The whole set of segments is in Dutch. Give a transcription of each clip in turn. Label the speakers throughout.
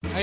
Speaker 1: En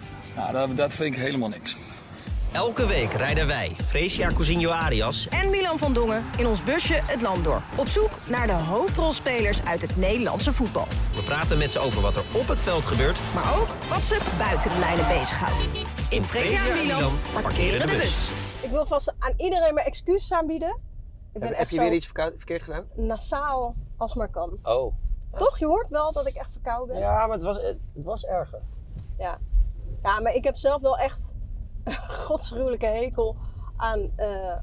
Speaker 2: nou, dat, dat vind ik helemaal niks.
Speaker 3: Elke week rijden wij, Fresia Cousinho Arias,
Speaker 4: en Milan van Dongen in ons busje het land door. Op zoek naar de hoofdrolspelers uit het Nederlandse voetbal.
Speaker 3: we praten met ze over wat er op het veld gebeurt.
Speaker 4: Maar ook wat ze buiten de lijnen bezighoudt.
Speaker 3: In
Speaker 4: Fresia en Milan parkeren de bus. Ik wil vast aan iedereen mijn excuses aanbieden. Ik ben echt zo
Speaker 3: verkeerd gedaan?
Speaker 4: nasaal als maar kan.
Speaker 3: Oh.
Speaker 4: Toch, je hoort wel dat ik echt verkouden ben. Ja.
Speaker 3: maar het was, het was erger.
Speaker 4: Ja. maar ik heb zelf wel echt een godsruwelijke hekel aan, eh,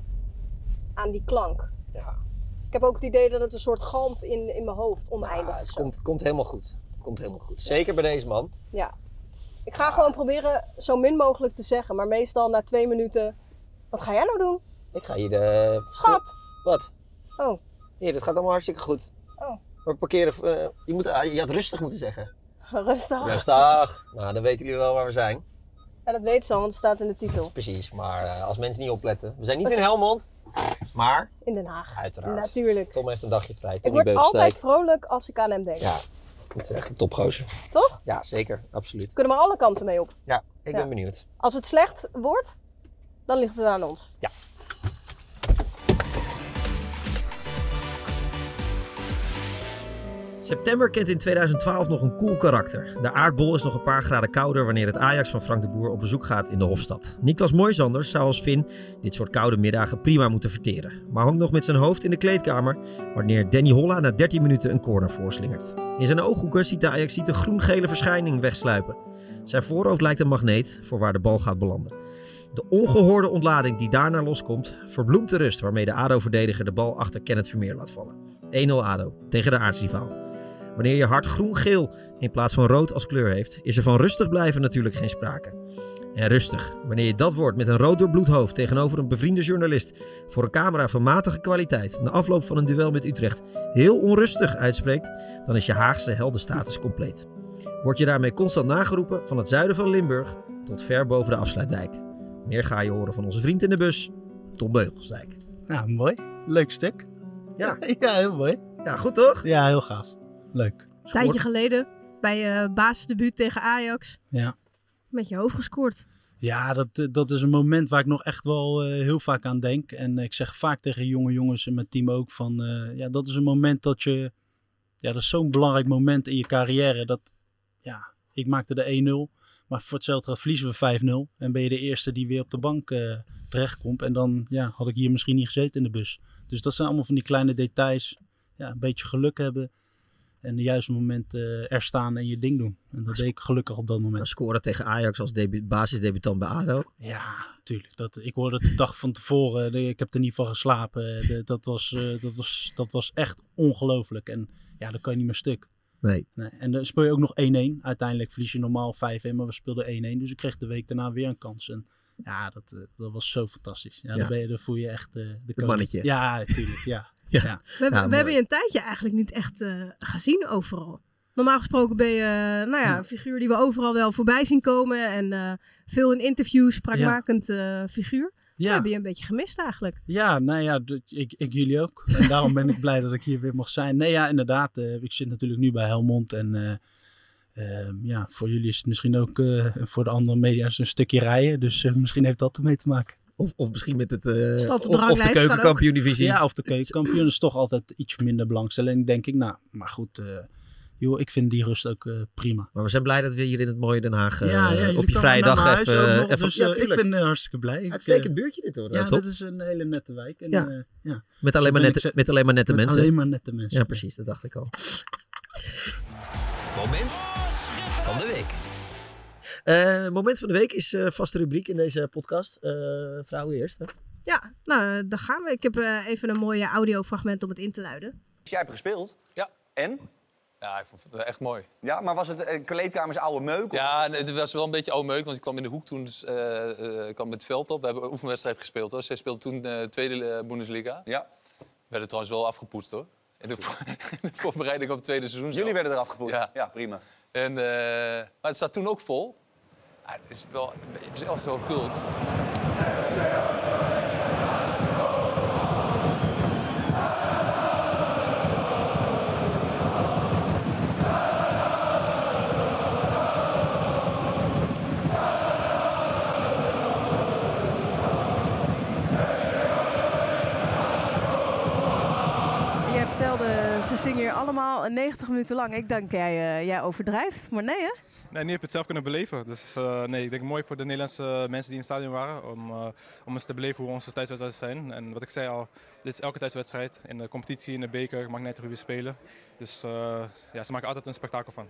Speaker 4: aan die klank.
Speaker 3: Ja.
Speaker 4: Ik heb ook het idee dat het een soort galmt in, in mijn hoofd oneindig.
Speaker 3: Ah,
Speaker 4: of
Speaker 3: het
Speaker 4: zo.
Speaker 3: komt, komt helemaal goed. Komt helemaal goed. Zeker bij deze man.
Speaker 4: Ja. Ik ga gewoon proberen zo min mogelijk te zeggen, maar meestal na twee minuten. Wat ga jij nou doen?
Speaker 3: Ik ga hier de...
Speaker 4: Schat!
Speaker 3: Wat?
Speaker 4: Oh,
Speaker 3: Hier, dat gaat allemaal hartstikke goed.
Speaker 4: Oh.
Speaker 3: Maar parkeren... eh, je, moet, ah, je had rustig moeten zeggen.
Speaker 4: rustig.
Speaker 3: Rustig. nou, dan weten jullie wel waar we zijn.
Speaker 4: Ja, dat weet ze al, want het staat in de titel.
Speaker 3: Precies, maar eh, als mensen niet opletten. We zijn niet
Speaker 4: Wat-
Speaker 3: in Helmond, maar
Speaker 4: In Den Haag.
Speaker 3: uiteraard.
Speaker 4: Natuurlijk.
Speaker 3: Tom heeft een dagje vrij.
Speaker 4: Ik
Speaker 3: Tommy
Speaker 4: word altijd
Speaker 3: Beukstein.
Speaker 4: vrolijk als ik aan hem denk.
Speaker 3: Ja, dat is echt een topgozer.
Speaker 4: Toch?
Speaker 3: Ja, zeker. Absoluut.
Speaker 4: Kunnen we alle kanten mee op.
Speaker 3: Ja, ik
Speaker 4: Ja.
Speaker 3: ben benieuwd.
Speaker 4: Als het slecht wordt, dan ligt het aan ons.
Speaker 3: Ja.
Speaker 5: September kent in 2012 nog een koel karakter. De aardbol is nog een paar graden kouder wanneer het Ajax van Frank de Boer op bezoek gaat in de Hofstad. Niklas Mooijzanders zou als Finn dit soort koude middagen prima moeten verteren. Maar hangt nog met zijn hoofd in de kleedkamer wanneer Danny Holla na 13 minuten een corner voorslingert. In zijn ooghoeken ziet de Ajax een groen-gele verschijning wegsluipen. Zijn voorhoofd lijkt een magneet voor waar de bal gaat belanden. De ongehoorde ontlading die daarna loskomt, verbloemt de rust waarmee de ADO-verdediger de bal achter Kenneth Vermeer laat vallen. 1-0 ADO tegen de aartsrivaal. Wanneer je hart groen-geel in plaats van rood als kleur heeft, is er van rustig blijven natuurlijk geen sprake. En rustig, wanneer je dat wordt met een rood doorbloed hoofd tegenover een bevriende journalist voor een camera van matige kwaliteit na afloop van een duel met Utrecht heel onrustig uitspreekt, dan is je Haagse heldenstatus compleet. Word je daarmee constant nageroepen van het zuiden van Limburg tot ver boven de afsluitdijk. Meer ga je horen van onze vriend in de bus, Tom Beugelsdijk.
Speaker 6: Ja, Nou, mooi. Leuk stuk.
Speaker 5: Ja.
Speaker 6: Ja, heel mooi.
Speaker 5: Ja, goed toch?
Speaker 6: Ja, heel gaaf. Leuk.
Speaker 5: Scoort-
Speaker 4: geleden bij basisdebuut tegen Ajax.
Speaker 6: Ja.
Speaker 4: Met je hoofd gescoord.
Speaker 6: Ja, dat, eh, dat is een moment waar ik nog echt wel eh, heel vaak aan denk. En ik zeg vaak tegen jonge jongens en mijn team ook van... eh, ja, dat is een moment dat je... Ja, dat is zo'n belangrijk moment in je carrière. Dat, ja, ik maakte de 1-0. Maar voor hetzelfde geld verliezen we 5-0. En ben je de eerste die weer op de bank eh, terechtkomt. En dan ja, had ik hier misschien niet gezeten in de bus. Dus dat zijn allemaal van die kleine details. Ja, een beetje geluk hebben. En de juiste moment eh, er staan en je ding doen. En dat deed ik gelukkig op dat moment.
Speaker 5: Dan scoren tegen Ajax als debu- basisdebutant bij ADO.
Speaker 6: Ja, tuurlijk. Dat, ik hoorde het de dag van tevoren. eh, Ik heb er niet van geslapen. Eh, de- Dat was, eh, dat was, dat was echt ongelooflijk. En ja, dan kan je niet meer stuk.
Speaker 5: Nee.
Speaker 6: Nee. En dan speel je ook nog 1-1. Uiteindelijk verlies je normaal 5-1, maar we speelden 1-1. Dus ik kreeg de week daarna weer een kans. En ja, dat, eh, dat was zo fantastisch. Ja,
Speaker 5: Ja.
Speaker 6: Dan, ben je, dan voel je echt eh, de koning.
Speaker 5: mannetje.
Speaker 6: Ja, tuurlijk. Ja.
Speaker 5: Ja.
Speaker 6: Ja.
Speaker 4: We, hebben-
Speaker 5: Ja,
Speaker 4: we
Speaker 5: mooi.
Speaker 4: hebben je een tijdje eigenlijk niet echt eh, gezien overal. Normaal gesproken ben je eh, nou ja, een figuur die we overal wel voorbij zien komen. En eh, veel in interviews, spraakmakend eh, figuur. We
Speaker 6: ja.
Speaker 4: hebben je een beetje gemist eigenlijk.
Speaker 6: Ja, nou ja, dat- ik, ik jullie ook. En daarom ben ik blij dat ik hier weer mag zijn. Nee, ja, inderdaad. eh, ik zit natuurlijk nu bij Helmond. En eh, eh, ja, voor jullie is het misschien ook eh, voor de andere media's een stukje rijden. Dus eh, misschien heeft dat ermee te maken.
Speaker 5: Of, of misschien met het, eh,
Speaker 4: Stand op de
Speaker 5: of- of, de
Speaker 4: ranglijst, kan ook.
Speaker 5: keukenkampioen-divisie.
Speaker 6: Ja, of de keukenkampioen is toch altijd iets minder belangstelling, denk ik. Nou, maar goed, eh, joh, ik vind die rust ook eh, prima.
Speaker 5: Maar we zijn blij dat we hier in het mooie Den Haag eh,
Speaker 6: jullie
Speaker 5: op je
Speaker 6: komen naar mijn
Speaker 5: vrijdag
Speaker 6: huis
Speaker 5: even...
Speaker 6: ook nog,
Speaker 5: even
Speaker 6: dus,
Speaker 5: ja,
Speaker 6: eh, ik
Speaker 5: tuurlijk.
Speaker 6: ben eh, hartstikke blij. Ik,
Speaker 5: Uitstekend
Speaker 6: eh,
Speaker 5: buurtje dit hoor.
Speaker 6: ja,
Speaker 5: top.
Speaker 6: dat is een hele nette wijk. En,
Speaker 5: Ja.
Speaker 6: eh, ja.
Speaker 5: met, alleen maar
Speaker 6: ben
Speaker 5: nette,
Speaker 6: ik-
Speaker 5: met alleen maar nette
Speaker 6: Met
Speaker 5: mensen.
Speaker 6: alleen maar nette mensen.
Speaker 5: Ja, precies. Dat dacht ik al.
Speaker 3: Moment van de week.
Speaker 5: Eh, moment van de week is eh, vaste rubriek in deze podcast. Eh vrouwen eerst. Hè?
Speaker 4: Ja, nou, daar gaan eh,
Speaker 7: Dus
Speaker 4: we. Ik heb even een mooi audiofragment om het in te luiden.
Speaker 8: Jij hebt gespeeld.
Speaker 1: Ja.
Speaker 8: En?
Speaker 9: Ja, ik vond het echt mooi.
Speaker 7: Ja, maar was het eh, kleedkamers oude meuk? of-
Speaker 9: Ja, nee, het was wel een beetje oude meuk, want ik kwam in de hoek toen, dus, eh, eh, kwam met het veld op. We hebben een oefenwedstrijd gespeeld hoor. Zij speelde toen eh tweede eh, Bundesliga.
Speaker 7: Ja.
Speaker 9: Werden trouwens wel afgepoetst hoor. In de, voor- in de voorbereiding op het tweede seizoen. Jullie
Speaker 7: werden eraf gepoetst?
Speaker 9: Ja.
Speaker 7: prima.
Speaker 9: En, eh, maar het staat toen ook vol. Ah, het is wel, het is echt wel cult.
Speaker 4: Jij vertelde, ze zingen hier allemaal 90 minuten lang. Ik denk, jij, eh, jij overdrijft, maar nee hè?
Speaker 10: Nee, nu heb je het zelf kunnen beleven. Dus eh, nee, ik denk mooi voor de Nederlandse mensen die in het stadion waren. Om, eh, om eens te beleven hoe onze thuiswedstrijden zijn. En wat ik zei al, dit is elke thuiswedstrijd. In de competitie, in de beker, maakt niet uit hoe we spelen. Dus eh, ja, ze maken altijd een spektakel van.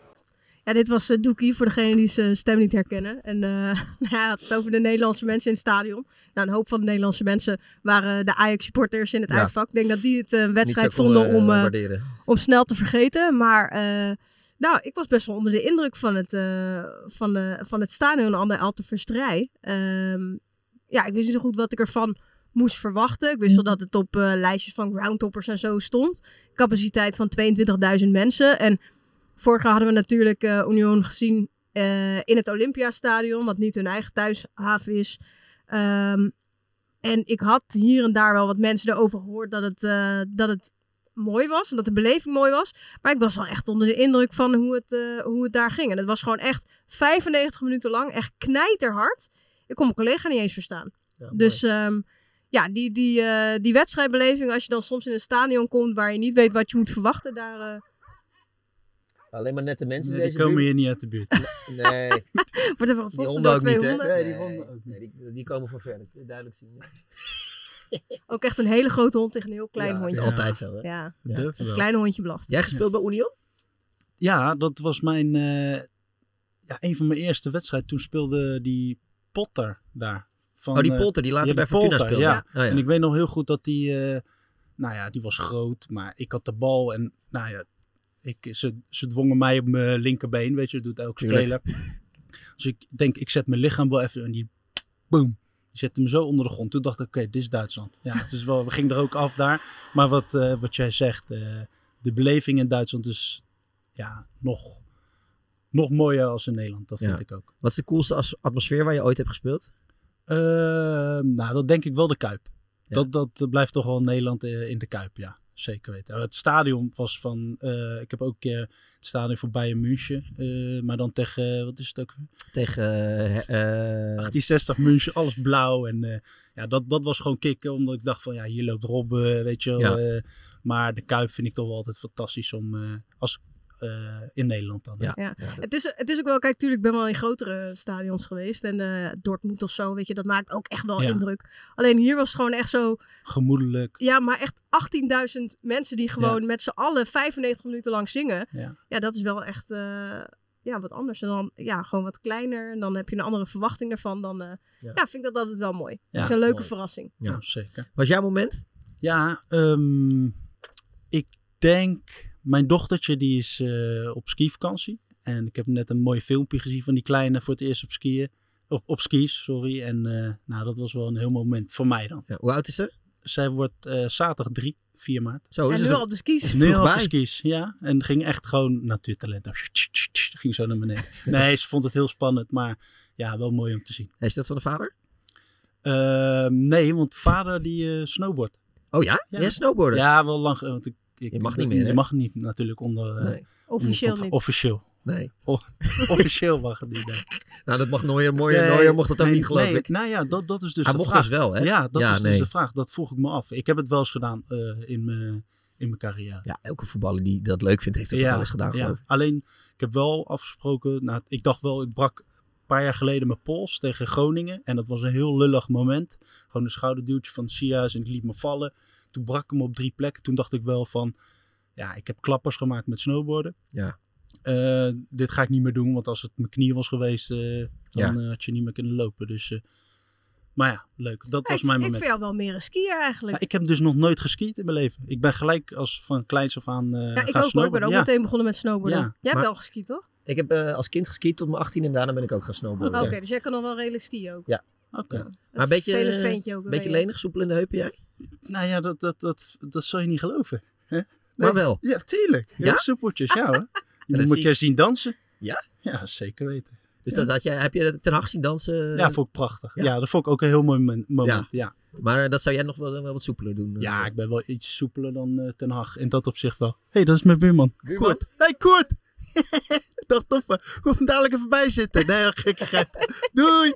Speaker 4: Ja, dit was eh, Doekie, voor degene die zijn stem niet herkennen. En eh, nou ja, het had het over de Nederlandse mensen in het stadion. Nou, een hoop van de Nederlandse mensen waren de Ajax-supporters in het
Speaker 5: Ja.
Speaker 4: uitvak. Ik denk dat die het eh, een wedstrijd
Speaker 5: Niet zo konden,
Speaker 4: vonden om,
Speaker 5: eh,
Speaker 4: eh,
Speaker 5: waarderen.
Speaker 4: om snel te vergeten. Maar eh, nou, ik was best wel onder de indruk van het, eh, van de, van het stadion aan de Alteverstrij. Ehm ja, ik wist niet zo goed wat ik ervan moest verwachten. Ik wist wel dat het op eh, lijstjes van groundtoppers en zo stond. Capaciteit van 22.000 mensen. En vorig jaar hadden we natuurlijk eh, Union gezien eh, in het Olympiastadion, wat niet hun eigen thuishaven is. Ehm, en ik had hier en daar wel wat mensen erover gehoord dat het, eh, dat het mooi was en dat de beleving mooi was. Maar ik was wel echt onder de indruk van hoe het, eh, hoe het daar ging. En het was gewoon echt 95 minuten lang, echt knijterhard. Ik kon mijn collega niet eens verstaan. dus ehm, ja, die, die, eh, die wedstrijdbeleving, als je dan soms in een stadion komt waar je niet weet wat je moet verwachten, daar, eh,
Speaker 5: Alleen maar nette mensen
Speaker 6: Nee,
Speaker 5: in
Speaker 6: die
Speaker 5: deze
Speaker 6: komen
Speaker 5: buurt.
Speaker 6: hier niet uit de buurt.
Speaker 5: Nee.
Speaker 4: Wordt even
Speaker 5: die
Speaker 4: gevochten
Speaker 5: honden
Speaker 4: door
Speaker 5: ook
Speaker 4: twee
Speaker 5: niet, hè?
Speaker 4: honden?
Speaker 5: Nee,
Speaker 4: Nee,
Speaker 5: die
Speaker 4: die
Speaker 5: nee, die, die komen van ver. Dat kun je duidelijk zien. hè?
Speaker 4: ook echt een hele grote hond tegen een heel klein
Speaker 5: Ja, dat is
Speaker 4: hondje.
Speaker 5: altijd zo, hè?
Speaker 4: Ja,
Speaker 6: Ja.
Speaker 4: het
Speaker 6: Wel.
Speaker 4: kleine hondje blaft.
Speaker 5: Jij gespeeld bij Union?
Speaker 6: Ja, dat was mijn, eh, ja, een van mijn eerste wedstrijden. Toen speelde die Potter daar. Van,
Speaker 5: Oh, die
Speaker 6: eh,
Speaker 5: Potter, die later bij
Speaker 6: Potter,
Speaker 5: Fortuna speelde.
Speaker 6: Ja.
Speaker 5: Ja. Oh, ja.
Speaker 6: En ik weet nog heel goed dat die, eh, nou ja, die was groot, maar ik had de bal en, nou ja, ik, ze, ze dwongen mij op mijn linkerbeen, weet je, dat doet elke
Speaker 5: Tuurlijk.
Speaker 6: speler. Dus ik denk, ik zet mijn lichaam wel even en die, boom, die zette me zo onder de grond. Toen dacht ik, oké, dit is Duitsland. Ja, het is wel, we gingen er ook af daar. Maar wat, eh, wat jij zegt, eh, de beleving in Duitsland is, ja, nog, nog mooier als in Nederland. Dat vind
Speaker 5: Ja.
Speaker 6: ik ook.
Speaker 5: Wat is de coolste as- atmosfeer waar je ooit hebt gespeeld?
Speaker 6: Ehm, nou, dat denk ik wel de Kuip. Dat, dat blijft toch wel Nederland eh, in de Kuip, ja. Zeker weten. Het stadion was van... eh, ik heb ook een keer het stadion voor Bayern München. eh, maar dan tegen... eh, wat is het ook weer?
Speaker 5: Tegen... eh,
Speaker 6: 1860 München, alles blauw. En eh, ja, dat, dat was gewoon kicken. Omdat ik dacht van, ja, hier loopt Rob, eh, weet je wel.
Speaker 5: Ja.
Speaker 6: eh, maar de Kuip vind ik toch wel altijd fantastisch om... eh, als, eh, in Nederland dan. hè.
Speaker 4: Ja. Het, is, het is ook wel, kijk, tuurlijk, ik ben wel in grotere stadions geweest. En eh Dortmund of zo, weet je, dat maakt ook echt wel
Speaker 6: Ja.
Speaker 4: indruk. Alleen hier was het gewoon echt zo,
Speaker 6: Gemoedelijk.
Speaker 4: ja, maar echt 18.000 mensen die gewoon
Speaker 6: Ja.
Speaker 4: met z'n allen 95 minuten lang zingen.
Speaker 6: Ja.
Speaker 4: dat is wel echt eh, ja, wat anders. En dan, ja, gewoon wat kleiner. En dan heb je een andere verwachting daarvan. Dan, eh,
Speaker 5: ja.
Speaker 4: vind ik dat altijd wel mooi.
Speaker 6: Ja,
Speaker 4: dat is een leuke
Speaker 6: mooi.
Speaker 4: verrassing.
Speaker 6: Ja, zeker.
Speaker 5: Was jouw moment?
Speaker 6: Ja, ehm, ik denk... Mijn dochtertje die is eh, op skivakantie. En ik heb net een mooi filmpje gezien van die kleine voor het eerst op skiën. Op, op skis, sorry. En eh, nou, dat was wel een heel moment voor mij dan.
Speaker 5: hoe oud is ze?
Speaker 6: Zij wordt eh, zaterdag 3, 4 maart.
Speaker 5: Zo,
Speaker 4: En is nu het al op de skis.
Speaker 6: Is
Speaker 4: is
Speaker 6: nu
Speaker 4: vroeg
Speaker 6: al op de
Speaker 4: bij.
Speaker 6: skis, ja. En ging echt gewoon natuurtalent. Ging zo naar beneden. Nee, ze vond het heel spannend, maar ja, wel mooi om te zien. Ehm,
Speaker 5: Is dat van de vader?
Speaker 6: nee, want vader die eh, snowboardt.
Speaker 5: Oh ja? Jij snowboarden?
Speaker 6: Ja, wel lang. eh, Want ik, ik,
Speaker 5: Je mag niet meer, hè?
Speaker 6: Je mag niet natuurlijk onder... eh, onder
Speaker 5: Officieel
Speaker 6: contra-
Speaker 5: niet.
Speaker 6: Officieel.
Speaker 5: Nee.
Speaker 6: O- officieel mag het niet. nee.
Speaker 5: Nou, dat mag Neuer. Mooier,
Speaker 6: Nee,
Speaker 5: Neuer mocht dat ook
Speaker 6: nee,
Speaker 5: niet, geloof
Speaker 6: nee,
Speaker 5: ik.
Speaker 6: Nou ja, dat, dat is dus
Speaker 5: Hij
Speaker 6: de
Speaker 5: mocht
Speaker 6: vraag.
Speaker 5: dus wel, hè?
Speaker 6: Ja, dat
Speaker 5: Ja,
Speaker 6: is
Speaker 5: nee.
Speaker 6: dus de vraag. Dat vroeg ik me af. Ik heb het wel eens gedaan eh, in mijn in mijn carrière.
Speaker 5: Ja, elke voetballer die dat leuk vindt, heeft dat toch wel eens gedaan,
Speaker 6: ja.
Speaker 5: geloof ik.
Speaker 6: Alleen, ik heb wel afgesproken. Nou, ik dacht wel, ik brak een paar jaar geleden mijn pols tegen Groningen. En dat was een heel lullig moment. Gewoon een schouderduwtje van Sia's en ik liet me vallen. Toen brak ik hem op drie plekken. Toen dacht ik wel van, ja, ik heb klappers gemaakt met snowboarden.
Speaker 5: Ja.
Speaker 6: Eh, dit ga ik niet meer doen, want als het mijn knie was geweest, eh, dan
Speaker 5: Ja.
Speaker 6: eh, had je niet meer kunnen lopen. Dus eh, Maar ja, leuk. Dat was
Speaker 4: ik,
Speaker 6: mijn
Speaker 4: ik
Speaker 6: moment.
Speaker 4: vind jou wel meer een skier eigenlijk.
Speaker 6: Ja, ik heb dus nog nooit geskiet in mijn leven. Ik ben gelijk als van kleins af aan eh
Speaker 4: Ja,
Speaker 6: gaan
Speaker 4: ik ook hoor. Ik ben ook
Speaker 6: snowboarden. Ja.
Speaker 4: meteen begonnen met snowboarden.
Speaker 6: Ja,
Speaker 4: Jij
Speaker 6: maar-
Speaker 4: hebt wel geskiet, toch?
Speaker 5: Ik heb eh, als kind geskiet tot mijn 18 en daarna ben ik ook gaan
Speaker 4: Oké,
Speaker 6: Oh,
Speaker 5: snowboarden.
Speaker 4: dus jij kan nog wel redelijk skiën ook.
Speaker 5: Ja.
Speaker 6: Oké.
Speaker 5: Ja. Maar een beetje,
Speaker 4: vervelend
Speaker 5: eh,
Speaker 4: ventje ook,
Speaker 5: een beetje
Speaker 4: ben je.
Speaker 5: lenig, soepel in de heupen jij?
Speaker 6: Nou ja, dat, dat, dat, dat zal je niet geloven. Hè?
Speaker 5: Maar wel.
Speaker 6: Ja, tuurlijk. Ja?
Speaker 5: Ja?
Speaker 6: Soepeltjes, ja hoor.
Speaker 5: dat
Speaker 6: Je moet
Speaker 5: zie
Speaker 6: je
Speaker 5: ik.
Speaker 6: zien dansen.
Speaker 5: Ja?
Speaker 6: Ja, zeker weten.
Speaker 5: Dus
Speaker 6: Ja.
Speaker 5: dat, had jij, heb je dat ten Hag zien dansen?
Speaker 6: Ja, vond ik prachtig. Ja. dat vond ik ook een heel mooi moment. moment, Ja.
Speaker 5: Maar eh, dat zou jij nog wel, wel wat soepeler doen? eh.
Speaker 6: Ja, ik ben wel iets soepeler dan eh Ten Hag. In dat opzicht wel. Hé, hey, dat is mijn buurman.
Speaker 5: Buurman?
Speaker 6: Koert. Hé, hey, Koert! Dag toffe. Kom dadelijk even bij zitten. Nee, gekkigheid. Doei!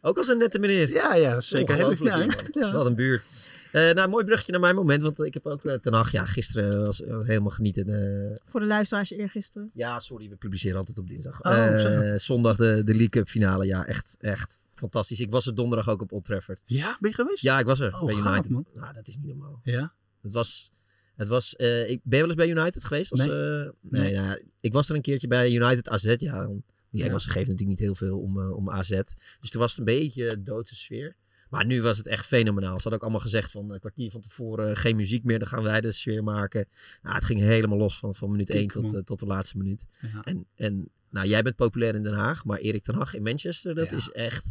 Speaker 5: Ook als een nette meneer.
Speaker 6: Ja, ja, dat is zeker. Heel
Speaker 5: Ongelooflijk,
Speaker 6: leuk.
Speaker 5: joh,
Speaker 6: Ja,
Speaker 5: man.
Speaker 6: ja.
Speaker 5: Wat een buurt. Eh nou, mooi bruggetje naar mijn moment, want ik heb ook eh, ten Hag, ja, gisteren was, was helemaal genieten. eh,
Speaker 4: Voor de luisteraars eergisteren.
Speaker 5: Ja, sorry, we publiceren altijd op dinsdag.
Speaker 4: Oh,
Speaker 5: Eh,
Speaker 4: zo.
Speaker 5: zondag de, de League Cup finale. Ja, echt, echt fantastisch. Ik was er donderdag ook op Old Trafford.
Speaker 6: Ja, ben je geweest?
Speaker 5: Ja, ik was er
Speaker 6: Oh,
Speaker 5: bij
Speaker 6: gaaf,
Speaker 5: United.
Speaker 6: man.
Speaker 5: Nou, dat is niet normaal.
Speaker 6: Ja?
Speaker 5: Het was... Het was eh, ik, ben je wel eens bij United geweest? Als,
Speaker 6: Nee.
Speaker 5: eh, nee.
Speaker 6: Nee.
Speaker 5: nou ja, ik was er een keertje bij United AZ. Ja, dan- die
Speaker 6: Ja.
Speaker 5: Engelsen geven natuurlijk niet heel veel om, eh, om AZ. Dus toen was het een beetje een doodse sfeer. Maar nu was het echt fenomenaal. Ze hadden ook allemaal gezegd van een kwartier van tevoren eh, geen muziek meer. Dan gaan wij de sfeer maken. Nou, het ging helemaal los van, van minuut 1
Speaker 6: Kijk,
Speaker 5: tot,
Speaker 6: man.
Speaker 5: eh, tot de laatste minuut.
Speaker 6: Ja.
Speaker 5: En, en nou, jij bent populair in Den Haag, maar Erik ten Hag in Manchester, dat is echt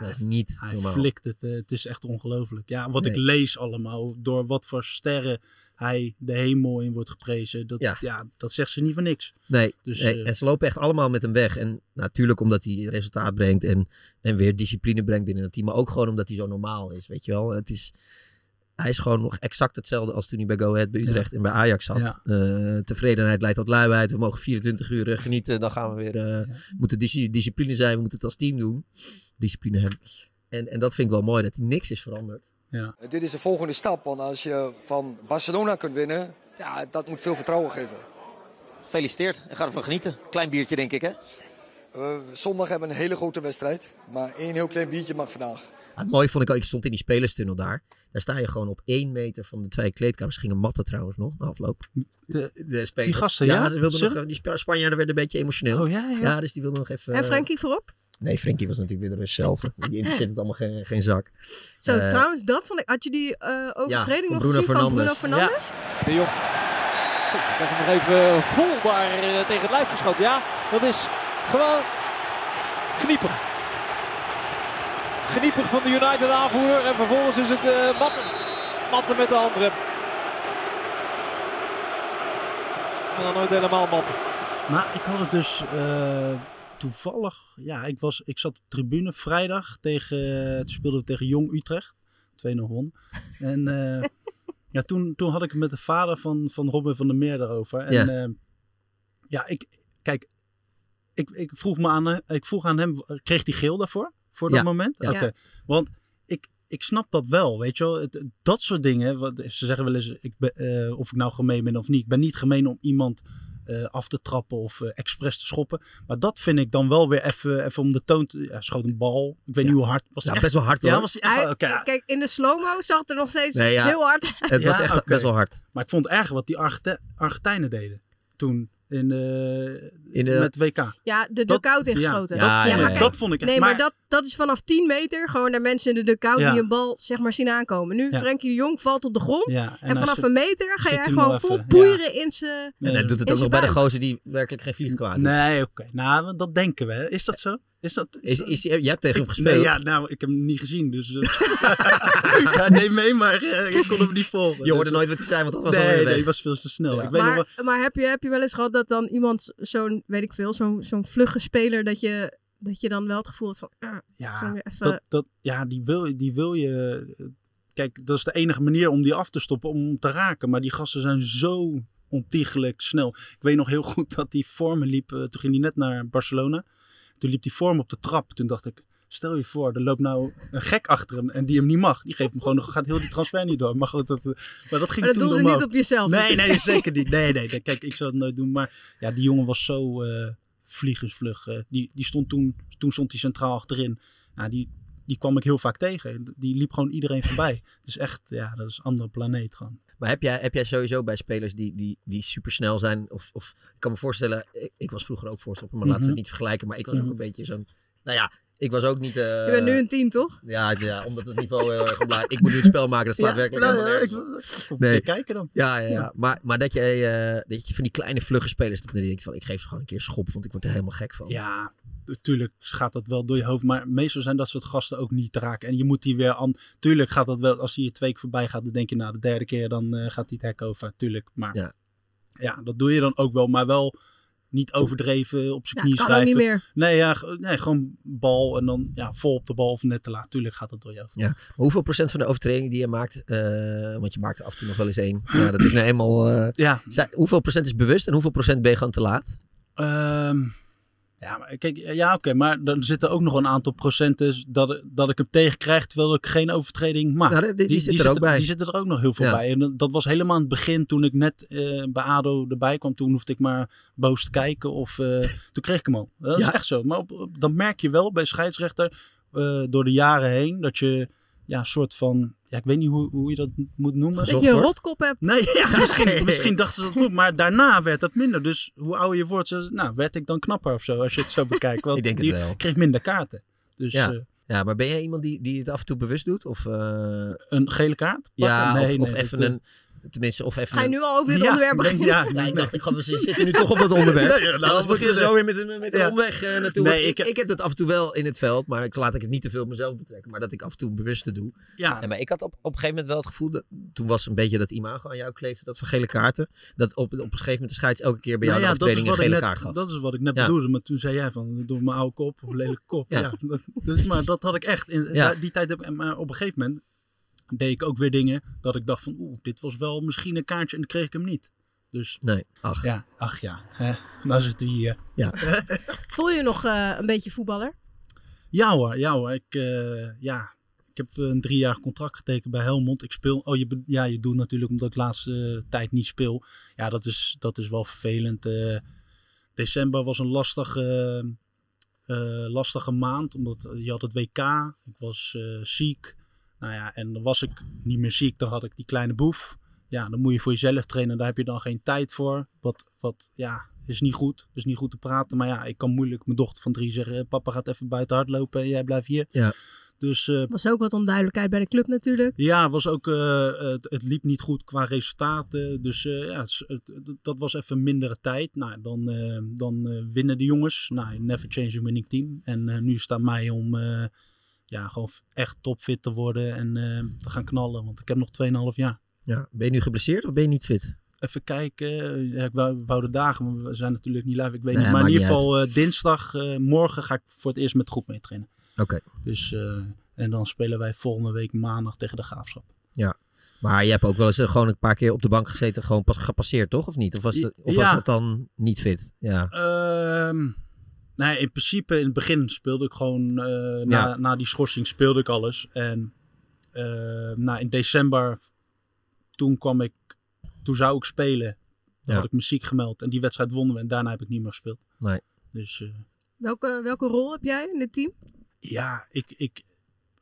Speaker 5: dat is niet
Speaker 6: Hij
Speaker 5: normaal.
Speaker 6: flikt het. eh, het is echt ongelooflijk. Ja, wat ik
Speaker 5: Nee.
Speaker 6: lees allemaal. Door wat voor sterren hij de hemel in wordt geprezen. Dat, ja. dat zegt ze niet voor niks.
Speaker 5: Nee,
Speaker 6: Dus,
Speaker 5: nee,
Speaker 6: eh,
Speaker 5: en ze lopen echt allemaal met hem weg. En natuurlijk omdat hij resultaat brengt en, en weer discipline brengt binnen het team. Maar ook gewoon omdat hij zo normaal is, weet je wel. Het is, hij is gewoon nog exact hetzelfde als toen hij bij Go Ahead, bij Utrecht en bij Ajax zat.
Speaker 6: Ja.
Speaker 5: Eh, tevredenheid leidt tot luiheid. We mogen 24 uur eh, genieten. Dan gaan we weer, eh, we moeten dis- discipline zijn. We moeten het als team doen. Discipline hebben. En, en dat vind ik wel mooi, dat hij niks is veranderd.
Speaker 6: Ja.
Speaker 11: Dit is de volgende stap, want als je van Barcelona kunt winnen, ja, dat moet veel vertrouwen geven.
Speaker 3: Gefeliciteerd en ga ervan genieten. Klein biertje, denk ik, hè?
Speaker 11: Eh, zondag hebben we een hele grote wedstrijd, maar één heel klein biertje mag vandaag.
Speaker 5: Ja, het mooie vond ik ook, ik stond in die spelerstunnel daar. Daar sta je gewoon op één meter van de twee kleedkamers. Ze Gingen matten trouwens nog, na afloop.
Speaker 6: De,
Speaker 5: spelers.
Speaker 6: Die gasten, ja?
Speaker 5: ze wilden
Speaker 6: Zeg-
Speaker 5: nog, eh, die Spa- Spanjaarden werden een beetje emotioneel.
Speaker 6: Oh, ja, ja.
Speaker 5: dus die wilden nog even...
Speaker 4: En Frankie voorop?
Speaker 5: Nee, Frankie was natuurlijk weer de rust zelf. Die interesseert het allemaal geen, geen zak.
Speaker 4: Zo,
Speaker 5: Eh,
Speaker 4: trouwens, dat vond ik... Had je die eh, overtreding
Speaker 5: van
Speaker 4: nog
Speaker 5: Bruno
Speaker 4: gezien van Bruno
Speaker 5: Fernandes.
Speaker 4: Fernandes?
Speaker 12: De Jong. Zo, ik heb hem nog even vol daar eh, tegen het lijf geschoten. Ja, dat is gewoon geniepig. Geniepig van de United aanvoerder. En vervolgens is het eh, matten. Matten met de andere. Maar dan nooit helemaal matten.
Speaker 6: Maar ik had het dus eh, toevallig. Ja, ik, was, ik zat op de tribune vrijdag tegen. eh, Toen speelden we tegen Jong Utrecht. 2-0 won. En eh, ja, toen, toen had ik het met de vader van, van Robin van der Meer daarover. En
Speaker 5: Ja.
Speaker 6: eh, ja, ik. Kijk, ik, ik, vroeg me aan, eh, ik vroeg aan hem. eh, Kreeg hij geel daarvoor? Voor dat
Speaker 5: Ja.
Speaker 6: moment?
Speaker 5: Ja.
Speaker 6: Oké. Want ik, ik snap dat wel, weet je wel. Het- het- dat soort dingen, wat, ze zeggen wel eens ik ben, eh, of ik nou gemeen ben of niet. Ik ben niet gemeen om iemand eh, af te trappen of eh, expres te schoppen. Maar dat vind ik dan wel weer even even om de toon te... Ja, schoot een bal. Ik weet niet hoe hard. Was
Speaker 5: Ja,
Speaker 6: het
Speaker 5: best wel hard,
Speaker 6: Ja,
Speaker 5: hoor.
Speaker 6: was die echt wel-
Speaker 4: Hij-
Speaker 6: oké, ja.
Speaker 4: Kijk, in de slow-mo zag het er nog steeds
Speaker 6: Nee, ja.
Speaker 4: heel hard
Speaker 5: Het was echt
Speaker 6: oké.
Speaker 5: best wel hard.
Speaker 6: Maar ik vond het erg wat die Argete- Argentijnen deden toen in, de
Speaker 5: In de-
Speaker 6: met WK.
Speaker 4: Ja, de
Speaker 6: Dat-
Speaker 4: dugout
Speaker 6: ja,
Speaker 4: ingeschoten.
Speaker 6: dat vond ik-
Speaker 4: maar
Speaker 6: dat vond ik echt-
Speaker 4: Nee, maar,
Speaker 6: maar-
Speaker 4: dat, dat is vanaf 10 meter gewoon naar mensen in de dugout
Speaker 6: Ja.
Speaker 4: die een bal zeg maar zien aankomen. Nu,
Speaker 6: Ja.
Speaker 4: Frenkie de Jong valt op de grond
Speaker 5: Ja, en
Speaker 4: en,
Speaker 5: hij
Speaker 4: vanaf
Speaker 5: schiet-
Speaker 4: een meter ga
Speaker 5: schiet
Speaker 4: jij
Speaker 5: hem wel
Speaker 4: gewoon
Speaker 5: even,
Speaker 4: vol
Speaker 5: ja.
Speaker 4: poeieren in zijn...
Speaker 5: En hij doet het
Speaker 4: in
Speaker 5: ook nog
Speaker 4: zijn
Speaker 5: bij de
Speaker 4: buik.
Speaker 5: gozer die werkelijk geen vlieg kwaad doet.
Speaker 6: Nee, oké. Nou, want dat denken we. hè. Is dat zo? Is dat,
Speaker 5: Is-
Speaker 6: dat-
Speaker 5: is- je hebt tegen hem
Speaker 6: Ik-
Speaker 5: gespeeld.
Speaker 6: Nee, ja, nou, ik heb hem niet gezien. Dus, eh, ja, nee, mee, maar eh, ik kon hem niet volgen.
Speaker 5: Je hoorde
Speaker 6: Dus-
Speaker 5: nooit wat hij zei, want dat was
Speaker 6: nee,
Speaker 5: alweer
Speaker 6: nee,
Speaker 5: weg.
Speaker 6: het was veel te snel. Ik weet nog wel-
Speaker 4: Maar, maar heb, je, heb je wel eens gehad dat dan iemand zo'n, weet ik veel, zo'n zo'n vlugge speler dat je, dat je dan wel het gevoel hebt van... ah, ik zal
Speaker 6: Ja,
Speaker 4: hem weer even-
Speaker 6: dat, dat, ja die, wil, je- die wil je. Kijk, dat is de enige manier om die af te stoppen, om hem te raken. Maar die gasten zijn zo ontiegelijk snel. Ik weet nog heel goed dat die vormen liep. eh, toen ging hij net naar Barcelona. Toen liep die vorm op de trap. Toen dacht ik. Stel je voor, er loopt nou een gek achter hem en die hem niet mag. Die geeft hem gewoon, nog- gaat heel die transfer niet door. Maar goed, dat, maar dat ging
Speaker 4: Maar dat
Speaker 6: toen
Speaker 4: doelde niet
Speaker 6: omhoog.
Speaker 4: op jezelf.
Speaker 6: Nee, nee, zeker niet. Nee, nee, nee. Kijk, ik zou het nooit doen. Maar ja, die jongen was zo eh vliegensvlug. eh. die, die stond toen, toen stond hij centraal achterin. Nou, die, die kwam ik heel vaak tegen. Die liep gewoon iedereen voorbij. Het is echt, ja, dat is een andere planeet gewoon.
Speaker 5: Maar heb jij, heb jij sowieso bij spelers die, die, die supersnel zijn? Of, of ik kan me voorstellen, ik, ik was vroeger ook voorstopper, maar laten we
Speaker 6: Mhm.
Speaker 5: het niet vergelijken. Maar ik was
Speaker 6: Mhm.
Speaker 5: ook een beetje zo'n. Nou ja, Ik was ook niet... eh,
Speaker 4: Je bent nu een tien, toch?
Speaker 5: Ja, ik- ja, omdat het niveau heel erg omlaag... Ik moet nu een spel maken, dat slaat
Speaker 4: Ja,
Speaker 5: werkelijk
Speaker 4: nou,
Speaker 5: helemaal
Speaker 4: ja,
Speaker 5: nergens op.
Speaker 6: Of
Speaker 5: Nee.
Speaker 6: nee. kijken dan.
Speaker 5: Ja, ja, ja.
Speaker 6: Ja.
Speaker 5: Maar, maar dat, je, eh, dat je van die kleine vlugge spelers hebt. Dat je denkt van, ik geef ze gewoon een keer schop, want ik word er helemaal gek van.
Speaker 6: Ja, natuurlijk gaat dat wel door je hoofd. Maar meestal zijn dat soort gasten ook niet te raken. En je moet die weer aan. Tuurlijk gaat dat wel. Als hij je twee keer voorbij gaat, dan denk je na de derde keer, dan eh, gaat hij het hek over. Tuurlijk. Maar
Speaker 5: ja.
Speaker 6: dat doe je dan ook wel. Maar wel niet overdreven op
Speaker 4: Ja,
Speaker 6: zijn knie
Speaker 4: kan ook niet
Speaker 6: slijven.
Speaker 4: meer.
Speaker 6: Nee, ja, g- nee, gewoon bal en dan ja, vol op de bal of net te laat. Tuurlijk gaat dat door je hoofd.
Speaker 5: Ja. Maar hoeveel procent van de overtredingen die je maakt, eh, want je maakt er af en toe nog wel eens één. Ja, dat is nou eenmaal... eh,
Speaker 6: Ja.
Speaker 5: zijn- hoeveel procent is bewust en hoeveel procent ben je gewoon te laat?
Speaker 6: Ehm, ja, maar kijk, eh, ja, oké, maar dan zitten ook nog een aantal procenten dat, dat ik hem tegenkrijg terwijl ik geen overtreding maak.
Speaker 5: Nou, die- die zit er ook bij.
Speaker 6: Ah, Die zitten er ook nog heel veel
Speaker 5: Ja.
Speaker 6: bij. En dat- dat was helemaal aan het begin toen ik net eh, bij ADO erbij kwam. Toen hoefde ik maar boos te kijken of eh, toen kreeg ik hem al. Dat is
Speaker 5: Ja.
Speaker 6: echt zo. Maar op, op- dan merk je wel bij scheidsrechter eh, door de jaren heen dat je ja, een soort van, ja, ik weet niet hoe, hoe je dat moet noemen.
Speaker 4: Dat je een rotkop hebt.
Speaker 6: Nee, ja, misschien, misschien dachten ze dat goed, maar daarna werd dat minder. Dus hoe ouder je wordt, ze- nou, werd ik dan knapper of zo, als je het zo bekijkt. Want
Speaker 5: Ik denk het
Speaker 6: die
Speaker 5: wel.
Speaker 6: kreeg minder kaarten. Dus
Speaker 5: ja.
Speaker 6: eh,
Speaker 5: ja, maar ben jij iemand die, die het af en toe bewust doet? Of, eh,
Speaker 6: een gele kaart?
Speaker 5: Ja,
Speaker 6: pakken? Nee,
Speaker 5: of, of
Speaker 6: nee,
Speaker 5: even
Speaker 6: dat,
Speaker 5: een... Tenminste, of even
Speaker 4: Ga je
Speaker 5: een-
Speaker 4: nu al over dit
Speaker 6: Ja,
Speaker 4: onderwerp
Speaker 6: ik denk-
Speaker 4: beginnen?
Speaker 6: ja, ik
Speaker 5: Ja, eh, ik dacht, ik ga, we zitten
Speaker 6: Nee.
Speaker 5: nu toch op dat onderwerp.
Speaker 6: Nee, ja, laten we
Speaker 5: Anders moeten nou, we
Speaker 6: beginnen.
Speaker 5: zo weer met, een- met een
Speaker 6: Ja.
Speaker 5: omweg eh, naartoe.
Speaker 6: Nee,
Speaker 5: Want ik, ik,
Speaker 6: ik-
Speaker 5: heb dat af en toe wel in het veld, maar ik laat ik het niet te veel op mezelf betrekken. Maar dat ik af en toe bewust te doe.
Speaker 6: Ja.
Speaker 5: Nee, maar ik had op, op een gegeven moment wel het gevoel, dat, toen was een beetje dat imago aan jou kleefde, dat van gele kaarten. Dat op, op een gegeven moment de scheids elke keer bij jou
Speaker 6: Nou ja,
Speaker 5: de overtreding een
Speaker 6: wat ik
Speaker 5: gele
Speaker 6: net-
Speaker 5: kaart gaf.
Speaker 6: Dat is wat ik net
Speaker 5: Ja.
Speaker 6: bedoelde, maar toen zei jij van, door mijn oude kop, of lelijke kop.
Speaker 5: Ja.
Speaker 6: Ja. dat- dus, maar dat had ik echt. In,
Speaker 5: Ja.
Speaker 6: da- Die tijd heb maar op een gegeven moment deed ik ook weer dingen dat ik dacht van, oeh, dit was wel misschien een kaartje en dan kreeg ik hem niet. Dus
Speaker 5: nee, ach
Speaker 6: ja, ach ja, hè, nou zitten we
Speaker 5: eh,
Speaker 6: hier.
Speaker 5: Ja.
Speaker 4: Voel je je nog eh, een beetje voetballer?
Speaker 6: Ja hoor, ja hoor. Ik, eh, ja. ik heb eh, een drie jaar contract getekend bij Helmond. Ik speel. Oh, je, be- ja, je doet natuurlijk omdat ik de laatste eh, tijd niet speel. Ja, dat is, dat is wel vervelend. eh. december was een lastige, eh, eh, lastige maand, omdat eh, je had het WK. Ik was eh, ziek. Nou ja, en dan was ik niet meer ziek. Dan had ik die kleine boef. Ja, dan moet je voor jezelf trainen. Daar heb je dan geen tijd voor. Wat, wat ja, is niet goed. Is niet goed te praten. Maar ja, ik kan moeilijk mijn dochter van drie zeggen... eh, papa gaat even buiten hardlopen en jij blijft hier.
Speaker 5: Ja.
Speaker 6: Dus eh,
Speaker 4: Was ook wat onduidelijkheid bij de club natuurlijk.
Speaker 6: ja, was ook, eh, het, het liep niet goed qua resultaten. Dus eh, ja, het is- het- het- dat was even mindere tijd. Nou, dan, eh, dan eh, winnen de jongens. Nou, never change a winning team. En eh, nu staat mij om eh, ja, gewoon f- echt topfit te worden en eh, te gaan knallen. Want ik heb nog 2,5 jaar.
Speaker 5: Ja. Ben je nu geblesseerd of ben je niet fit?
Speaker 6: Even kijken. Ja, ik wou, wou de dagen, maar we zijn natuurlijk niet live. Ik weet
Speaker 5: Nee,
Speaker 6: niet. Maar in
Speaker 5: maakt
Speaker 6: ieder
Speaker 5: niet
Speaker 6: geval eh, dinsdag, eh, morgen ga ik voor het eerst met de groep mee trainen.
Speaker 5: Oké,
Speaker 6: Dus, eh, en dan spelen wij volgende week maandag tegen de Graafschap.
Speaker 5: ja. Maar je hebt ook wel eens eh, gewoon een paar keer op de bank gezeten, gewoon pas gepasseerd, toch? Of niet? Of was dat, of was
Speaker 6: Ja.
Speaker 5: dat dan niet fit? Ja.
Speaker 6: Ehm, nee, in principe in het begin speelde ik gewoon, eh, na,
Speaker 5: Ja.
Speaker 6: na die schorsing speelde ik alles. En eh, nou, in december, toen kwam ik, toen zou ik spelen.
Speaker 5: Ja.
Speaker 6: Dan had ik muziek gemeld en die wedstrijd wonnen we en daarna heb ik niet meer gespeeld.
Speaker 5: Nee.
Speaker 6: Dus eh,
Speaker 4: Welke, welke rol heb jij in dit team?
Speaker 6: ja, ik, ik,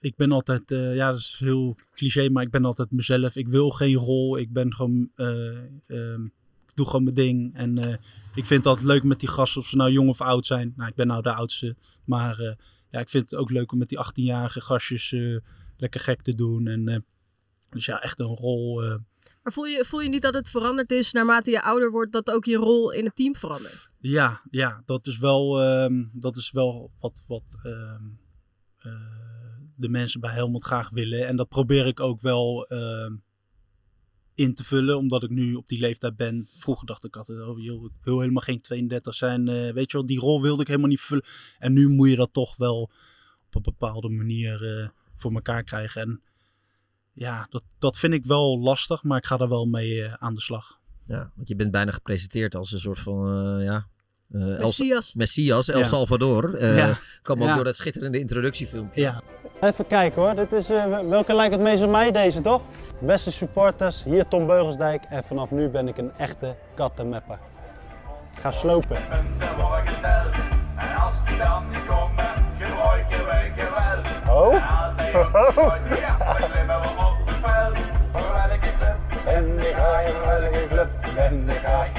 Speaker 6: ik ben altijd, eh, ja, dat is heel cliché, maar ik ben altijd mezelf. Ik wil geen rol. Ik ben gewoon, eh, ehm, ik doe gewoon mijn ding. En eh, ik vind het altijd leuk met die gasten, of ze nou jong of oud zijn. Nou, ik ben nou de oudste. Maar eh, ja, ik vind het ook leuk om met die 18-jarige gastjes eh, lekker gek te doen. En, eh, dus ja, echt een rol. eh,
Speaker 4: Maar voel je, voel je niet dat het veranderd is naarmate je ouder wordt, dat ook je rol in het team verandert?
Speaker 6: Ja, ja dat is wel, ehm, dat is wel wat, wat ehm, eh, de mensen bij Helmond graag willen. En dat probeer ik ook wel ehm, in te vullen, omdat ik nu op die leeftijd ben. Vroeger dacht ik altijd, oh joh, ik wil helemaal geen 32 zijn. eh, weet je wel, die rol wilde ik helemaal niet vullen. En nu moet je dat toch wel op een bepaalde manier eh, voor elkaar krijgen. En ja, dat, dat vind ik wel lastig, maar ik ga daar wel mee eh, aan de slag.
Speaker 5: Ja, want je bent bijna gepresenteerd als een soort van, eh, ja... eh, El-
Speaker 4: Messias.
Speaker 5: Messias, El
Speaker 6: Ja.
Speaker 5: Salvador. Eh
Speaker 6: Ja.
Speaker 5: Kwam ook
Speaker 6: Ja.
Speaker 5: door dat schitterende introductiefilmpje.
Speaker 6: Ja.
Speaker 13: Even kijken hoor, dit is, eh, welke lijkt het meest op mij deze toch? Beste supporters, hier Tom Beugelsdijk en vanaf nu ben ik een echte kattenmepper. Ik ga slopen. Oh? Oh? Ben ik hij, welke club ben ik hij?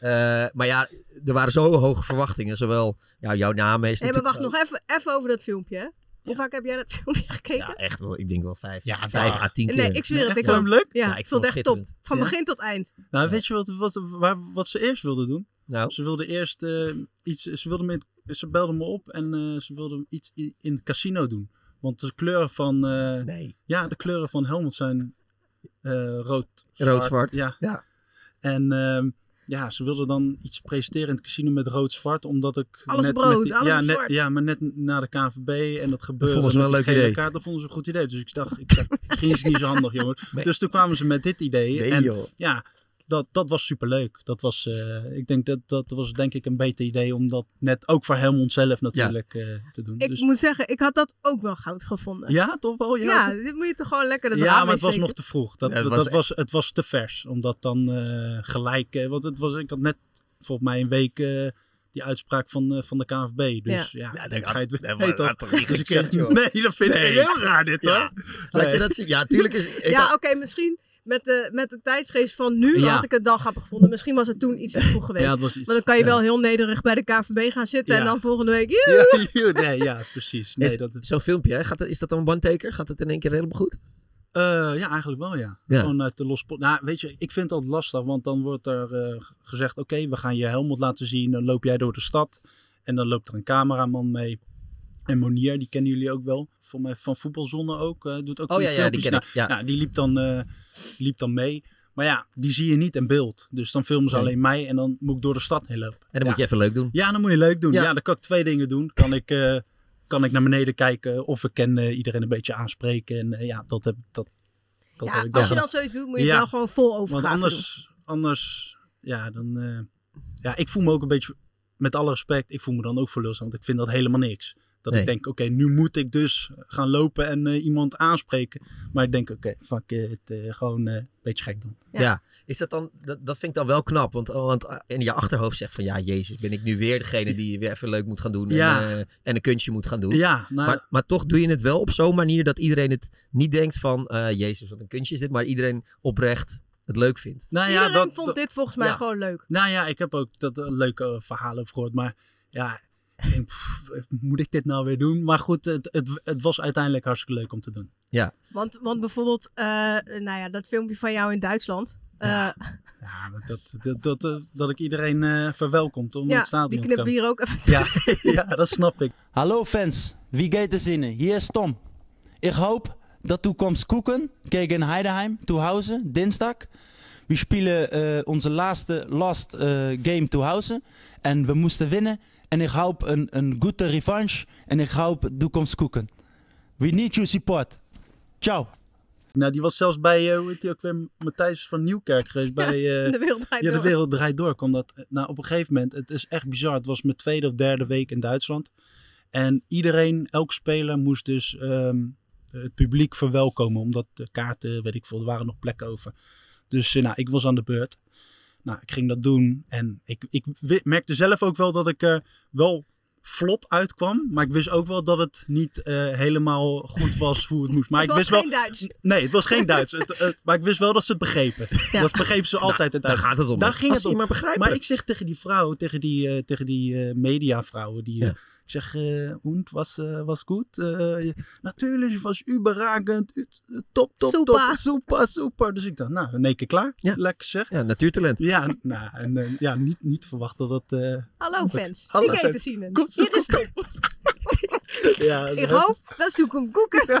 Speaker 5: Eh, maar ja, er waren zo hoge verwachtingen. Zowel ja, jouw naam is
Speaker 4: Nee, maar
Speaker 5: natuurlijk-
Speaker 4: wacht nog even, even over dat filmpje. hè. Hoe vaak heb jij dat filmpje gekeken?
Speaker 5: Echt wel, ik denk wel vijf, vijf à tien keer.
Speaker 4: Nee, ik zweer het. Ik
Speaker 6: Vond
Speaker 4: ook.
Speaker 6: je hem leuk?
Speaker 4: Ja,
Speaker 6: Ja,
Speaker 4: ik vond het echt top.
Speaker 6: schitterend.
Speaker 4: Van
Speaker 6: Ja?
Speaker 4: begin tot eind.
Speaker 6: Nou, weet je wat, wat, waar, wat ze eerst wilden doen?
Speaker 4: Oh.
Speaker 5: Nou?
Speaker 6: Ze wilden eerst eh, iets. Ze, wilden met, ze belden me op en eh, ze wilden iets i- in het casino doen. Want de kleuren van. eh, Ja, de kleuren van Helmond zijn eh, rood.
Speaker 5: Rood-zwart,
Speaker 6: Ja.
Speaker 5: ja.
Speaker 6: En. ehm, ja, ze wilden dan iets presenteren in het casino met rood-zwart, omdat ik...
Speaker 4: Alles
Speaker 6: net
Speaker 4: brood,
Speaker 6: met die-
Speaker 4: alles
Speaker 6: ja, net,
Speaker 4: zwart.
Speaker 6: ja, maar net na de KNVB en dat gebeurde...
Speaker 5: vonden ze
Speaker 6: met
Speaker 5: wel
Speaker 6: die
Speaker 5: een leuk
Speaker 6: gele
Speaker 5: idee.
Speaker 6: Kaart, dat vonden ze een goed idee. Dus ik dacht, ik dacht misschien is het niet zo handig, jongen. Dus toen kwamen ze met dit idee.
Speaker 5: Nee,
Speaker 6: en
Speaker 5: joh.
Speaker 6: ja, dat, dat was superleuk. Dat was, eh, ik denk dat, dat was denk ik een beter idee om dat net ook voor Helmond zelf natuurlijk eh, te doen.
Speaker 4: Ik
Speaker 6: dus,
Speaker 4: moet zeggen, ik had dat ook wel goud gevonden.
Speaker 6: Ja, toch wel? Ja,
Speaker 4: Ja,
Speaker 6: dat-
Speaker 4: dit moet je toch gewoon lekker de
Speaker 6: ja,
Speaker 4: draad
Speaker 6: maar het was
Speaker 4: mee
Speaker 6: nog te vroeg. Dat,
Speaker 5: Ja, het
Speaker 6: dat
Speaker 5: was
Speaker 6: was
Speaker 5: e-
Speaker 6: het was te vers. Omdat dan eh, gelijk. eh, want het was, ik had net volgens mij een week eh, die uitspraak van, eh, van de KNVB. Dus ja,
Speaker 5: Ja,
Speaker 6: ja,
Speaker 5: dat
Speaker 6: dan ga je het
Speaker 5: had- dat
Speaker 6: nee,
Speaker 5: had-
Speaker 6: toch?
Speaker 5: had toch niet
Speaker 6: Dus ik-
Speaker 5: gezegd, joh.
Speaker 6: Nee, dat vind
Speaker 5: Nee.
Speaker 6: ik heel raar dit
Speaker 5: Ja.
Speaker 6: hoor.
Speaker 5: Laat je
Speaker 6: Nee.
Speaker 5: dat zien? Ja, tuurlijk is... ik
Speaker 4: ja,
Speaker 5: had-
Speaker 4: oké, misschien met de, met de tijdsgeest van nu
Speaker 5: Ja.
Speaker 4: had ik het dan grappig gevonden. Misschien was het toen iets te vroeg geweest.
Speaker 6: Ja, het was iets-
Speaker 4: maar dan kan je
Speaker 6: ja.
Speaker 4: wel heel nederig bij de KVB gaan zitten en
Speaker 5: Ja.
Speaker 4: dan volgende week...
Speaker 6: Ja, joh, nee, ja, precies. Nee,
Speaker 5: is-
Speaker 6: dat,
Speaker 5: Zo'n filmpje, hè? Gaat, dat- is dat dan een one-taker? Gaat het in één keer helemaal goed?
Speaker 6: Eh, ja, eigenlijk wel, ja.
Speaker 5: Ja.
Speaker 6: Gewoon uit de los. po- Nou, weet je, ik vind dat lastig, want dan wordt er eh, g- gezegd: oké, we gaan je Helmond laten zien. Dan loop jij door de stad. En dan loopt er een cameraman mee. En Monier, die kennen jullie ook wel. Voor mij van Voetbalzonde ook. eh, doet ook
Speaker 5: Oh, ja, ja, die
Speaker 6: filmpjes.
Speaker 5: ken
Speaker 6: Nou,
Speaker 5: ik, ja.
Speaker 6: nou, die liep dan, eh, liep dan mee. Maar ja, die zie je niet in beeld. Dus dan filmen ze
Speaker 5: Nee.
Speaker 6: alleen mij en dan moet ik door de stad heen lopen.
Speaker 5: En dan
Speaker 6: Ja.
Speaker 5: moet je even leuk doen.
Speaker 6: Ja, dan moet je leuk doen.
Speaker 5: Ja.
Speaker 6: Ja, dan kan ik twee dingen doen. Kan ik, eh, kan ik naar beneden kijken of ik ken eh, iedereen een beetje aanspreken. En eh, ja, dat heb dat, dat
Speaker 4: Ja,
Speaker 6: heb ik
Speaker 4: als je
Speaker 6: gedaan.
Speaker 4: dan zoiets doet, moet je het
Speaker 6: Ja.
Speaker 4: wel gewoon vol overgaan.
Speaker 6: Want anders, anders ja, dan... eh, ja, ik voel me ook een beetje, met alle respect, ik voel me dan ook voor lul staan, Want ik vind dat helemaal niks. Dat
Speaker 5: Nee.
Speaker 6: ik denk, oké, nu moet ik dus gaan lopen en eh, iemand aanspreken. Maar ik denk, oké, fuck it, eh, gewoon eh, een beetje gek doen.
Speaker 5: Ja. Is dat, dan, dat, dat vind ik dan wel knap. Want, want eh, in je achterhoofd zegt van ja, Jezus, ben ik nu weer degene die weer even leuk moet gaan doen. En,
Speaker 6: Ja.
Speaker 5: eh, en een kunstje moet gaan doen.
Speaker 6: Ja, nou-
Speaker 5: maar, maar toch doe je het wel op zo'n manier dat iedereen het niet denkt van eh, Jezus, wat een kunstje is dit. Maar iedereen oprecht het leuk vindt.
Speaker 6: Nou ja,
Speaker 4: Iedereen
Speaker 6: dat,
Speaker 4: vond
Speaker 6: dat-
Speaker 4: dit volgens mij gewoon leuk.
Speaker 6: Nou ja, ik heb ook dat eh, leuke eh, verhalen over gehoord. Maar ja, ik denk, pff, moet ik dit nou weer doen? Maar goed, het, het, het was uiteindelijk hartstikke leuk om te doen.
Speaker 5: Ja.
Speaker 4: Want, want bijvoorbeeld, eh, nou ja, dat filmpje van jou in Duitsland. eh,
Speaker 6: Ja, dat, dat, dat, dat, eh, dat ik iedereen eh, verwelkomt om
Speaker 4: Ja,
Speaker 6: het stadion
Speaker 4: die
Speaker 6: te
Speaker 4: knippen
Speaker 6: komen.
Speaker 4: we hier ook
Speaker 6: Ja, ja, dat snap ik.
Speaker 14: Hallo fans, wie geht es Ihnen? Hier is Tom. Ik hoop dat u komt koeken tegen Heidenheim te Hause dinsdag. We spelen eh, onze laatste last eh, game te Hause en we moesten winnen. En ik hoop een, een goede revanche en ik hoop u komt koeken. We need your support. Ciao.
Speaker 6: Nou, die was zelfs bij, eh, hoe heet die ook weer, Matthijs van Nieuwkerk geweest. bij, eh,
Speaker 4: De Wereld Draait
Speaker 6: ja,
Speaker 4: Door.
Speaker 6: de wereld draait door. Kwam dat, nou, op een gegeven moment, het is echt bizar. Het was mijn tweede of derde week in Duitsland. En iedereen, elk speler moest dus ehm, het publiek verwelkomen. Omdat de kaarten, weet ik veel, er waren nog plekken over. Dus eh, nou, ik was aan de beurt. Nou, ik ging dat doen. En ik, ik wi- merkte zelf ook wel dat ik er wel vlot uitkwam. Maar ik wist ook wel dat het niet eh, helemaal goed was hoe het moest. Maar
Speaker 4: Het
Speaker 6: ik
Speaker 4: was
Speaker 6: wist wel,
Speaker 4: geen Duits.
Speaker 6: Nee, het was geen Duits. Het, het- maar ik wist wel dat ze het begrepen. Dat begrepen ze altijd. het
Speaker 5: Nou,
Speaker 6: Duits.
Speaker 5: daar gaat het om.
Speaker 6: Daar ging het
Speaker 5: Als ze
Speaker 6: om.
Speaker 5: je maar begrijpen.
Speaker 6: ik zeg tegen die vrouw, tegen die, eh, tegen die eh, mediavrouwen, die, eh, ik zeg, eh und, was, eh, was goed? Eh, natuurlijk, was überragend. Top, top, top.
Speaker 4: Super.
Speaker 6: super, super. Dus ik dacht, nou, in één keer klaar. Lekker zeg.
Speaker 5: Ja, natuurtalent.
Speaker 6: Ja, nou, en, eh, ja niet, niet verwacht dat dat... eh,
Speaker 4: Hallo
Speaker 6: dat-
Speaker 4: fans,
Speaker 6: Hallo,
Speaker 4: wie
Speaker 6: fans.
Speaker 4: heet te zien? dus Hier is Tom.
Speaker 6: Ja,
Speaker 4: Ik
Speaker 6: dat-
Speaker 4: hoop dat zoek hem koeken.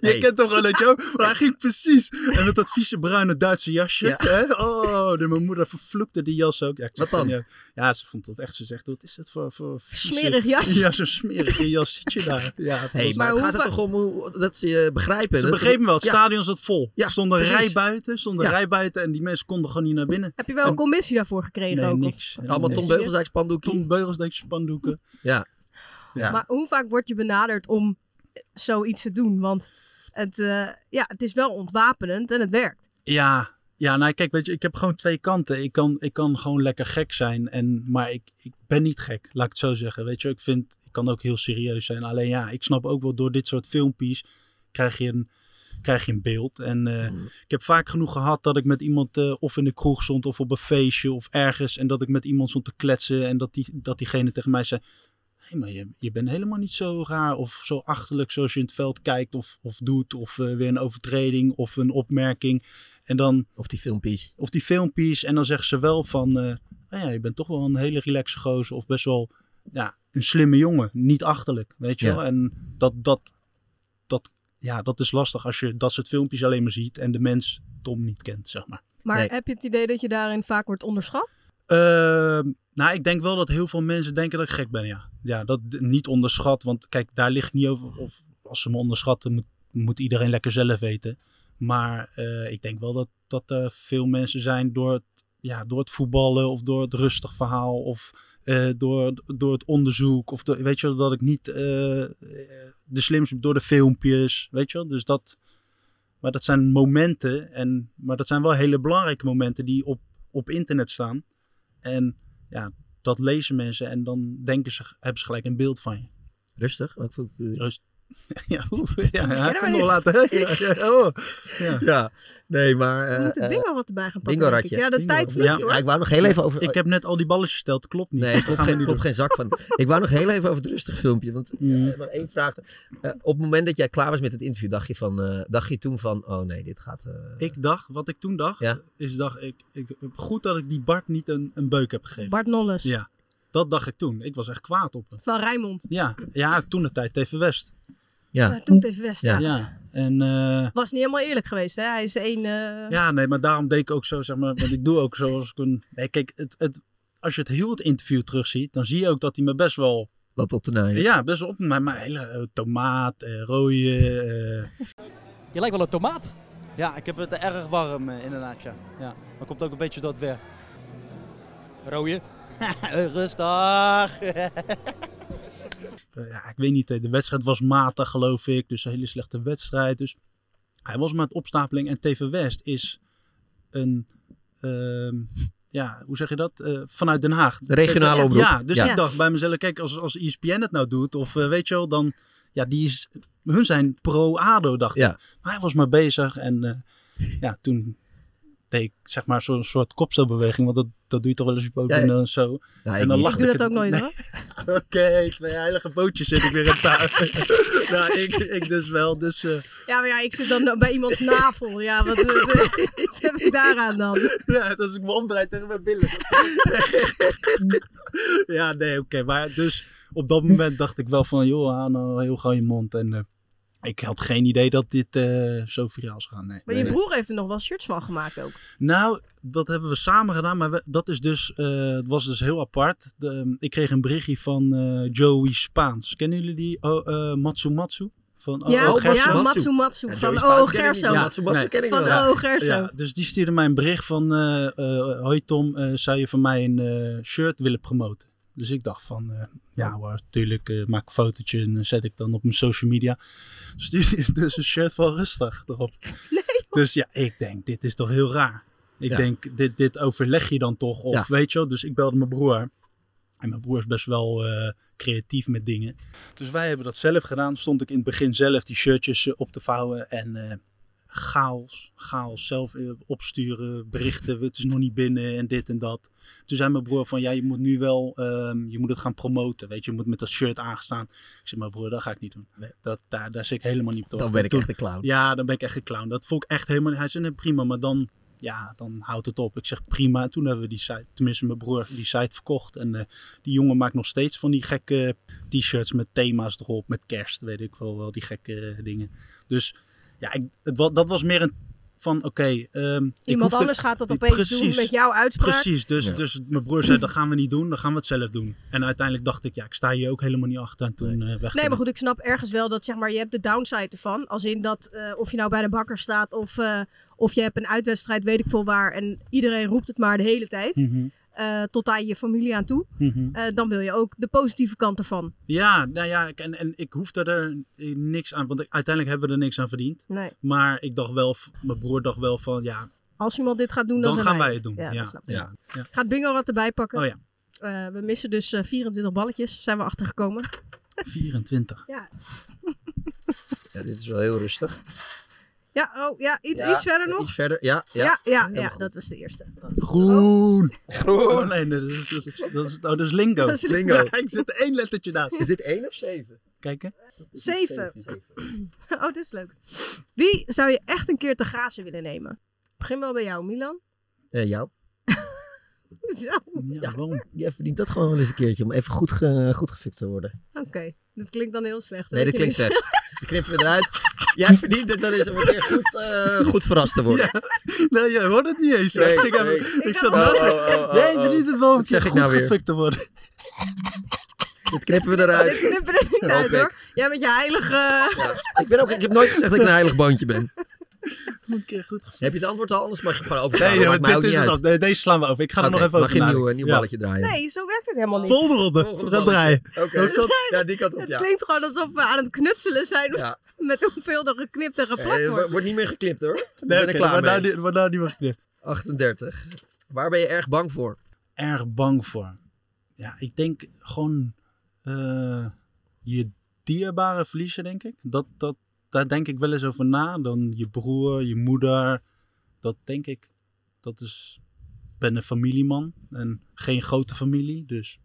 Speaker 6: Je kent toch wel dat jou? Maar hij ging precies. En met dat vieze bruine Duitse jasje. Hè? Oh, de, mijn moeder vervloekte die jas ook. Ja, ik zeg
Speaker 5: Wat dan?
Speaker 6: van, Ja, ja, ze vond dat echt. Ze zegt, wat is dat voor... voor vieze-
Speaker 4: Smerig jasje.
Speaker 6: Ja, zo'n smerige jas zit je daar. Ja, het
Speaker 5: Hey,
Speaker 6: was-
Speaker 5: maar, het gaat er toch om hoe, dat ze je begrijpen?
Speaker 6: Ze
Speaker 5: Dat
Speaker 6: begrepen wel, het
Speaker 5: ja.
Speaker 6: stadion zat vol.
Speaker 5: Ja,
Speaker 6: er stonden
Speaker 5: precies.
Speaker 6: rij buiten, stonden
Speaker 5: Ja.
Speaker 6: rij buiten en die mensen konden gewoon niet naar binnen.
Speaker 4: Heb je wel een commissie daarvoor gekregen
Speaker 6: Nee,
Speaker 4: ook? of-
Speaker 6: niks.
Speaker 5: Allemaal Tom Beugelsdijk spandoeken.
Speaker 6: Tom Beugelsdijk spandoeken.
Speaker 5: Ja. ja.
Speaker 4: Maar hoe vaak word je benaderd om zoiets te doen? Want het, eh, ja, het is wel ontwapenend en het werkt.
Speaker 6: Ja, ja, nou kijk, weet je, ik heb gewoon twee kanten. Ik kan, ik kan gewoon lekker gek zijn, en, maar ik, ik ben niet gek, laat ik het zo zeggen. Weet je, ik vind, ik kan ook heel serieus zijn. Alleen ja, ik snap ook wel door dit soort filmpjes krijg je een krijg je een beeld. En eh, ik heb vaak genoeg gehad dat ik met iemand eh, of in de kroeg stond of op een feestje of ergens. En dat ik met iemand stond te kletsen en dat, die, dat diegene tegen mij zei... Nee, maar je, je bent helemaal niet zo raar of zo achterlijk zoals je in het veld kijkt of, of doet. Of eh, weer een overtreding of een opmerking. En dan,
Speaker 5: of die filmpjes.
Speaker 6: Of die filmpjes. En dan zeggen ze wel van, eh, "Ah ja, je bent toch wel een hele relaxe gozer. Of best wel ja, een slimme jongen. Niet achterlijk, weet je
Speaker 5: Ja.
Speaker 6: wel. En dat, dat, dat, ja, dat is lastig als je dat soort filmpjes alleen maar ziet. En de mens Tom niet kent, zeg maar.
Speaker 4: Maar heb je het idee dat je daarin vaak wordt onderschat?
Speaker 6: Eh, Ehm, nou, ik denk wel dat heel veel mensen denken dat ik gek ben, ja. Ja, dat d- niet onderschat, want kijk, daar ligt niet over. Of als ze me onderschatten, moet, moet iedereen lekker zelf weten. Maar eh, ik denk wel dat, dat er veel mensen zijn door het, ja, door het voetballen of door het rustig verhaal of eh, door, door het onderzoek. Of door- weet je wel, dat ik niet eh, de slimste door de filmpjes, weet je wel. Dus dat, maar dat zijn momenten, en, maar dat zijn wel hele belangrijke momenten die op, op internet staan. En ja, dat lezen mensen en dan denken ze, hebben ze gelijk een beeld van je.
Speaker 5: Rustig? Wat
Speaker 6: Rust. ja, oeh, ja,
Speaker 5: Kennen
Speaker 6: ja,
Speaker 5: we
Speaker 6: kom
Speaker 5: niet.
Speaker 6: nog later. Ja, ja, oh.
Speaker 5: Ja.
Speaker 6: Ja.
Speaker 5: nee, maar...
Speaker 4: We
Speaker 5: eh,
Speaker 4: moeten
Speaker 5: eh,
Speaker 4: bingo wat erbij gaan pakken.
Speaker 5: bingo
Speaker 4: denk ik.
Speaker 5: ratje.
Speaker 4: Ja, de
Speaker 5: Bingo.
Speaker 4: tijd vliegt
Speaker 5: Ja,
Speaker 4: hoor.
Speaker 5: ik wou nog heel even over...
Speaker 6: Ik heb net al die balletjes gesteld, klopt niet.
Speaker 5: Nee,
Speaker 6: Dus
Speaker 5: klopt
Speaker 6: dat gaan
Speaker 5: geen,
Speaker 6: we niet
Speaker 5: klopt geen zak van. Ik wou nog heel even over het rustig filmpje. Want eh, nog één vraag. Eh, op het moment dat jij klaar was met het interview, dacht je, van, eh, dacht je toen van... Oh nee, dit gaat... eh,
Speaker 6: Ik dacht, wat ik toen dacht,
Speaker 5: Ja.
Speaker 6: is dacht ik, ik, goed dat ik die Bart niet een, een beuk heb gegeven.
Speaker 4: Bart Nolles.
Speaker 6: Ja, dat dacht ik toen. Ik was echt kwaad op hem.
Speaker 4: Van Rijmond.
Speaker 6: Ja, ja toen de tijd TV West.
Speaker 4: Ja, toen TV West, ja.
Speaker 6: Ja, ja. en... eh,
Speaker 4: Was niet helemaal eerlijk geweest, hè? Hij is één... eh,
Speaker 6: Ja, nee, maar daarom deed ik ook zo, zeg maar. Want ik doe ook zo als ik een... Nee, kijk, het, het, als je het heel het interview terugziet, dan zie je ook dat hij me best wel...
Speaker 5: Loopt op de naaien.
Speaker 6: Ja, best wel op mijn maar hele eh, tomaat, eh rooien... eh,
Speaker 12: Je lijkt wel een tomaat. Ja, ik heb het erg warm eh, inderdaad, ja. ja. Maar komt ook een beetje dat weer. Rooien. Rustig.
Speaker 6: ja, ik weet niet, eh, de wedstrijd was matig, geloof ik. Dus een hele slechte wedstrijd. Dus hij was maar het opstapeling. En TV West is een... ehm, ja, hoe zeg je dat? Eh, vanuit Den Haag.
Speaker 5: De regionale omroep.
Speaker 6: Ja, dus
Speaker 5: Ja.
Speaker 6: ik dacht bij mezelf, kijk, als, als ESPN het nou doet, of eh, weet je wel, dan... Ja, die is, hun zijn pro-ADO, dacht
Speaker 5: Ja.
Speaker 6: ik. Maar hij was maar bezig en eh, ja, toen deed ik zeg maar zo'n soort kopstelbeweging, want dat, dat doe je toch wel eens op ook
Speaker 5: Ja, ja.
Speaker 6: en dan zo.
Speaker 5: Ja, ik
Speaker 6: en dan
Speaker 5: niet.
Speaker 6: lachte
Speaker 5: Ik doe
Speaker 6: ik
Speaker 5: dat
Speaker 6: het-
Speaker 5: ook nooit,
Speaker 6: Nee.
Speaker 5: hoor.
Speaker 6: Oké, twee heilige bootjes zit ik weer in tafel. nou, ik, ik dus wel. Dus, eh,
Speaker 4: Ja, maar ja, ik zit dan bij iemands navel. Ja, wat, wat, wat heb ik daaraan dan?
Speaker 6: Ja, dat is ik me omdraai tegen mijn billen. ja, nee, oké. Maar dus op dat moment dacht ik wel van, joh, hou nou heel gauw je mond. En eh, ik had geen idee dat dit eh, zo viraal zou gaan. Nee.
Speaker 4: Maar je broer heeft er nog wel shirts van gemaakt ook.
Speaker 6: Nou, dat hebben we samen gedaan, maar we- dat is dus, eh, het was dus heel apart. De, ehm, ik kreeg een berichtje van eh, Joey Spaans. Kennen jullie die? Oh, eh, Matsu Matsu? Van, oh,
Speaker 4: Ja,
Speaker 6: oh,
Speaker 4: ja,
Speaker 6: Gerso.
Speaker 4: Matsu Matsu. Ja, Van, Joey Spaans oh, ken ik Gerso. niet, maar Matsu Matsu
Speaker 6: nee.
Speaker 4: ken ik Van, wel. oh, Gerso.
Speaker 6: Ja, dus die stuurde mij een bericht van, eh, eh, hoi Tom, eh, zou je van mij een eh, shirt willen promoten? Dus ik dacht van, eh, ja hoor, natuurlijk maak een fotootje en eh, zet ik dan op mijn social media. Stuurde je dus een shirt van rustig erop. Dus ja, ik denk, dit is toch heel raar. Ik
Speaker 5: Ja.
Speaker 6: denk, dit, dit overleg je dan toch? Of
Speaker 5: Ja.
Speaker 6: weet je wel, dus ik belde mijn broer. En mijn broer is best wel eh, creatief met dingen. Dus wij hebben dat zelf gedaan. Stond ik in het begin zelf die shirtjes eh, op te vouwen. En eh, chaos, chaos. Zelf eh, opsturen, berichten. Het is nog niet binnen en dit en dat. Toen zei mijn broer van, ja, je moet nu wel, ehm, je moet het gaan promoten. Weet je, je moet met dat shirt aangestaan. Ik zeg, maar broer, dat ga ik niet doen. Dat, daar, daar zit ik helemaal niet op te
Speaker 5: Dan
Speaker 6: wachten."
Speaker 5: ben ik
Speaker 6: Toen-
Speaker 5: echt een clown.
Speaker 6: Ja, dan ben ik echt een clown. Dat vond ik echt helemaal, hij zei, nee, prima, maar dan... Ja, dan houdt het op. Ik zeg prima. En toen hebben we die site, tenminste mijn broer, die site verkocht. En eh, die jongen maakt nog steeds van die gekke t-shirts met thema's erop. Met kerst, weet ik wel, wel die gekke dingen. Dus ja, ik, het, wa- dat was meer een van, oké. ehm, ik
Speaker 4: Iemand
Speaker 6: hoefde-
Speaker 4: anders gaat dat opeens doen met jouw uitspraak.
Speaker 6: Precies, dus,
Speaker 4: Ja.
Speaker 6: dus mijn broer zei, dat gaan we niet doen, dan gaan we het zelf doen. En uiteindelijk dacht ik, ja, ik sta hier ook helemaal niet achter. En toen eh weg.
Speaker 4: Nee, maar goed, ik snap ergens wel dat zeg maar, je hebt de downside ervan. Als in dat eh, of je nou bij de bakker staat of, eh, of je hebt een uitwedstrijd, weet ik veel waar. En iedereen roept het maar de hele tijd.
Speaker 6: Mhm.
Speaker 4: eh, tot aan je familie aan toe.
Speaker 6: Mhm.
Speaker 4: Eh, dan wil je ook de positieve kant ervan.
Speaker 6: Ja, nou ja, ik- en, en ik hoefde er niks aan, want ik- uiteindelijk hebben we er niks aan verdiend.
Speaker 4: Nee.
Speaker 6: Maar ik dacht wel, mijn broer dacht wel van, ja,
Speaker 4: Als iemand dit gaat doen, dan,
Speaker 6: dan
Speaker 4: zijn
Speaker 6: gaan wij het doen.
Speaker 4: Ja,
Speaker 6: Ja,
Speaker 4: dat snap ik.
Speaker 6: ja, ja.
Speaker 4: Ik ga het bingo wat erbij pakken.
Speaker 6: Oh ja.
Speaker 4: Eh, we missen dus eh, 24 balletjes, zijn we achtergekomen.
Speaker 6: 24.
Speaker 4: Ja.
Speaker 5: Ja, dit is wel heel rustig.
Speaker 4: Ja, oh, ja, iets,
Speaker 5: Ja,
Speaker 4: iets verder nog.
Speaker 5: Iets verder, ja.
Speaker 4: ja, ja, ja,
Speaker 5: Helemaal goed.
Speaker 4: dat was de eerste.
Speaker 6: Groen. Groen. Oh, nee, nee, dat is, dat, is, dat, is, oh, dat is lingo.
Speaker 4: Dat is
Speaker 5: lingo.
Speaker 6: Ja, ik zit er één lettertje naast.
Speaker 5: Is dit één of zeven?
Speaker 6: Kijken.
Speaker 4: Zeven. Oh, dit is leuk. Wie zou je echt een keer te grazen willen nemen? Ik Begin wel bij jou, Milan.
Speaker 5: Eh, jou?
Speaker 4: Zo. Oké,
Speaker 6: Ja, waarom?
Speaker 5: Jij verdient dat gewoon wel eens een keertje, om even goed, ge- goed gefikt te worden.
Speaker 4: dat klinkt dan heel slecht.
Speaker 5: Nee, dat
Speaker 4: weet je
Speaker 5: klinkt
Speaker 4: niet.
Speaker 5: slecht. Dat knippen we eruit. Jij verdient het wel eens om een keer goed, eh, goed verrast te worden.
Speaker 6: Nee, jij hoort het niet eens. hoor.
Speaker 5: Nee,
Speaker 6: ik, ging even-
Speaker 5: nee.
Speaker 6: ik
Speaker 5: Ik
Speaker 6: zat
Speaker 5: had
Speaker 6: naast
Speaker 5: het-
Speaker 6: je.
Speaker 5: Oh, oh, oh,
Speaker 6: Jij
Speaker 5: oh.
Speaker 6: verdient het wel een
Speaker 5: Wat
Speaker 6: keer
Speaker 5: zeg ik
Speaker 6: goed
Speaker 5: nou weer?
Speaker 6: gefikt te worden.
Speaker 5: Dat knippen we eruit.
Speaker 4: Ik knip er niet uit
Speaker 5: Oké.
Speaker 4: hoor. Jij met je heilige...
Speaker 5: Ik, ben ook, ik heb nooit gezegd dat ik een heilig bandje ben.
Speaker 6: Een keer goed gefikt.
Speaker 5: Heb je het antwoord al? Anders mag je gewoon overgaan.
Speaker 6: Nee, nee
Speaker 5: Nee, maakt mij
Speaker 6: dit
Speaker 5: ook
Speaker 6: is
Speaker 5: niet
Speaker 6: het
Speaker 5: uit.
Speaker 6: al. Nee, Deze slaan we over. Ik ga er
Speaker 5: Oké,
Speaker 6: nog even
Speaker 5: mag
Speaker 6: over
Speaker 5: je een
Speaker 6: nadenken.
Speaker 5: nieuw, nieuw
Speaker 6: Ja.
Speaker 5: balletje draaien.
Speaker 4: Nee, zo werkt het helemaal niet.
Speaker 6: Volgende ronde.
Speaker 5: Volgende
Speaker 6: We gaan
Speaker 5: balletje.
Speaker 6: draaien.
Speaker 5: Oké,
Speaker 4: We zijn-
Speaker 5: ja, die kant op,
Speaker 4: Het
Speaker 5: ja.
Speaker 4: klinkt gewoon alsof we aan het knutselen zijn
Speaker 5: Ja.
Speaker 4: met hoeveel er geknipt en geplakt
Speaker 5: Eh,
Speaker 4: wordt.
Speaker 5: wordt niet meer geknipt hoor. Ik
Speaker 6: Nee,
Speaker 5: ben er
Speaker 6: oké,
Speaker 5: klaar
Speaker 6: maar
Speaker 5: mee.
Speaker 6: nou, maar nou niet meer geknipt.
Speaker 5: 38. Waar ben je erg bang voor?
Speaker 6: erg bang voor. Ja, ik denk gewoon eh, je dierbare verliezen, denk ik. Dat, dat, daar denk ik wel eens over na. Dan je broer, je moeder. Dat denk ik. Dat is. Ik ben een familieman en geen grote familie. Dus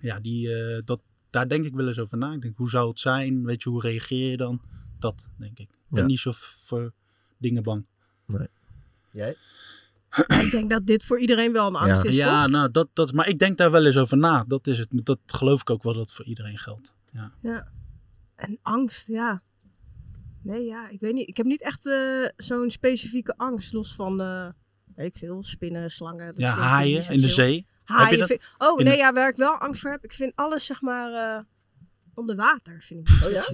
Speaker 6: ja, die, eh, dat, daar denk ik wel eens over na. Ik denk, hoe zou het zijn? Weet je, hoe reageer je dan? Dat denk ik. Ik ben
Speaker 5: Ja.
Speaker 6: niet zo voor dingen bang.
Speaker 5: Jij?
Speaker 6: Oh.
Speaker 4: Ik denk dat dit voor iedereen wel een angst
Speaker 6: ja.
Speaker 4: is.
Speaker 6: Ja,
Speaker 4: toch?
Speaker 6: nou, dat, dat, maar ik denk daar wel eens over na. Dat is het. Dat geloof ik ook wel dat het voor iedereen geldt. Ja.
Speaker 4: Ja. En angst, ja. Nee, ja, ik weet niet. Ik heb niet echt eh, zo'n specifieke angst, los van, eh, weet ik veel, spinnen, slangen. dat
Speaker 6: Ja,
Speaker 4: soort dingen,
Speaker 6: haaien
Speaker 4: die zijn
Speaker 6: in de
Speaker 4: chill.
Speaker 6: zee.
Speaker 4: Haaien
Speaker 6: Heb je dat
Speaker 4: vind- Oh,
Speaker 6: in
Speaker 4: nee,
Speaker 6: de-
Speaker 4: ja, waar ik wel angst voor heb. Ik vind alles, zeg maar, eh, onder water, vind ik. Oh ja?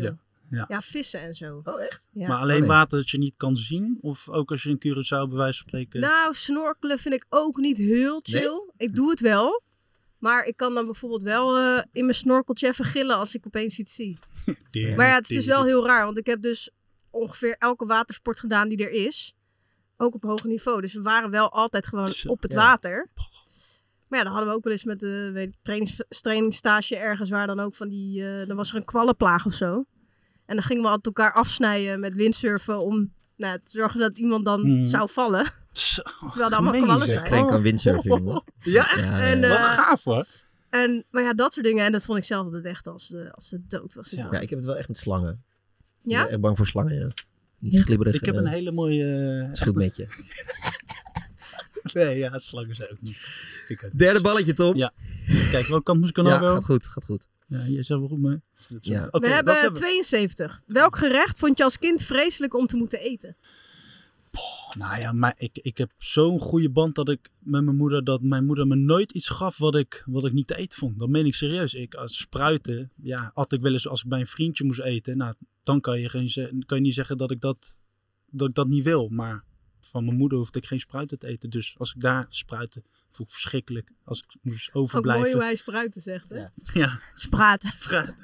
Speaker 6: Ja. Ja.
Speaker 4: vissen en zo.
Speaker 5: Oh, echt?
Speaker 4: Ja.
Speaker 6: Maar alleen water dat je niet kan zien? Of ook als je een Curaçao bij wijze van spreken...
Speaker 4: Nou, snorkelen vind ik ook niet heel chill. Ik doe het wel. Maar ik kan dan bijvoorbeeld wel eh, in mijn snorkeltje even gillen als ik opeens iets zie.
Speaker 6: Deer,
Speaker 4: maar ja, het is dus
Speaker 6: deer.
Speaker 4: wel heel raar. Want ik heb dus ongeveer elke watersport gedaan die er is. Ook op hoog niveau. Dus we waren wel altijd gewoon
Speaker 6: Zo,
Speaker 4: op het
Speaker 6: ja.
Speaker 4: water. Maar ja, dan hadden we ook wel eens met de weet ik, trainings, trainingsstage ergens waar dan ook van die... eh, dan was er een kwallenplaag of zo. En dan gingen we altijd elkaar afsnijden met windsurfen om nou, te zorgen dat iemand dan
Speaker 5: Mhm.
Speaker 4: zou vallen. Terwijl er allemaal
Speaker 5: Gemeen,
Speaker 4: kwallen
Speaker 5: zeg.
Speaker 4: zijn.
Speaker 5: Iedereen kan windsurfen, jongen.
Speaker 6: Ja,
Speaker 5: echt?
Speaker 4: En,
Speaker 5: ja.
Speaker 4: eh, Wat gaaf,
Speaker 6: hoor.
Speaker 4: En, maar ja, dat soort dingen. En dat vond ik zelf altijd echt als de, als de dood was.
Speaker 5: Ja, ik heb het wel echt met slangen.
Speaker 4: Ja?
Speaker 5: Ik ben echt bang voor slangen, ja. Die glibberige...
Speaker 6: Ik heb een hele mooie... eh,
Speaker 5: Is goed met je.
Speaker 6: Nee, ja, slangen zijn ook niet. Vind ik ook niet.
Speaker 5: Derde balletje, Tom.
Speaker 6: Ja. Kijk, welke kant moest ik nou
Speaker 5: Ja,
Speaker 6: wel?
Speaker 5: gaat goed, gaat goed.
Speaker 6: Ja, je zegt wel goed, maar... Dat is
Speaker 5: Ja.
Speaker 6: ook- Oké,
Speaker 4: we
Speaker 6: welke
Speaker 4: hebben 72. Welk gerecht vond je als kind vreselijk om te moeten eten?
Speaker 6: Nou ja, maar ik, ik heb zo'n goede band dat ik met mijn moeder, dat mijn moeder me nooit iets gaf wat ik, wat ik niet te eten vond. Dat meen ik serieus. Ik, als spruiten, ja, had ik wel eens als ik bij een vriendje moest eten. Nou, dan kan je, geen, ze- kan je niet zeggen dat ik dat, dat ik dat niet wil. Maar van mijn moeder hoefde ik geen spruiten te eten. Dus als ik daar spruiten, vond ik verschrikkelijk. Als ik moest
Speaker 4: Ook mooi hoe
Speaker 6: overblijven.
Speaker 4: hij spruiten zegt, hè?
Speaker 6: Ja,
Speaker 4: Spraten.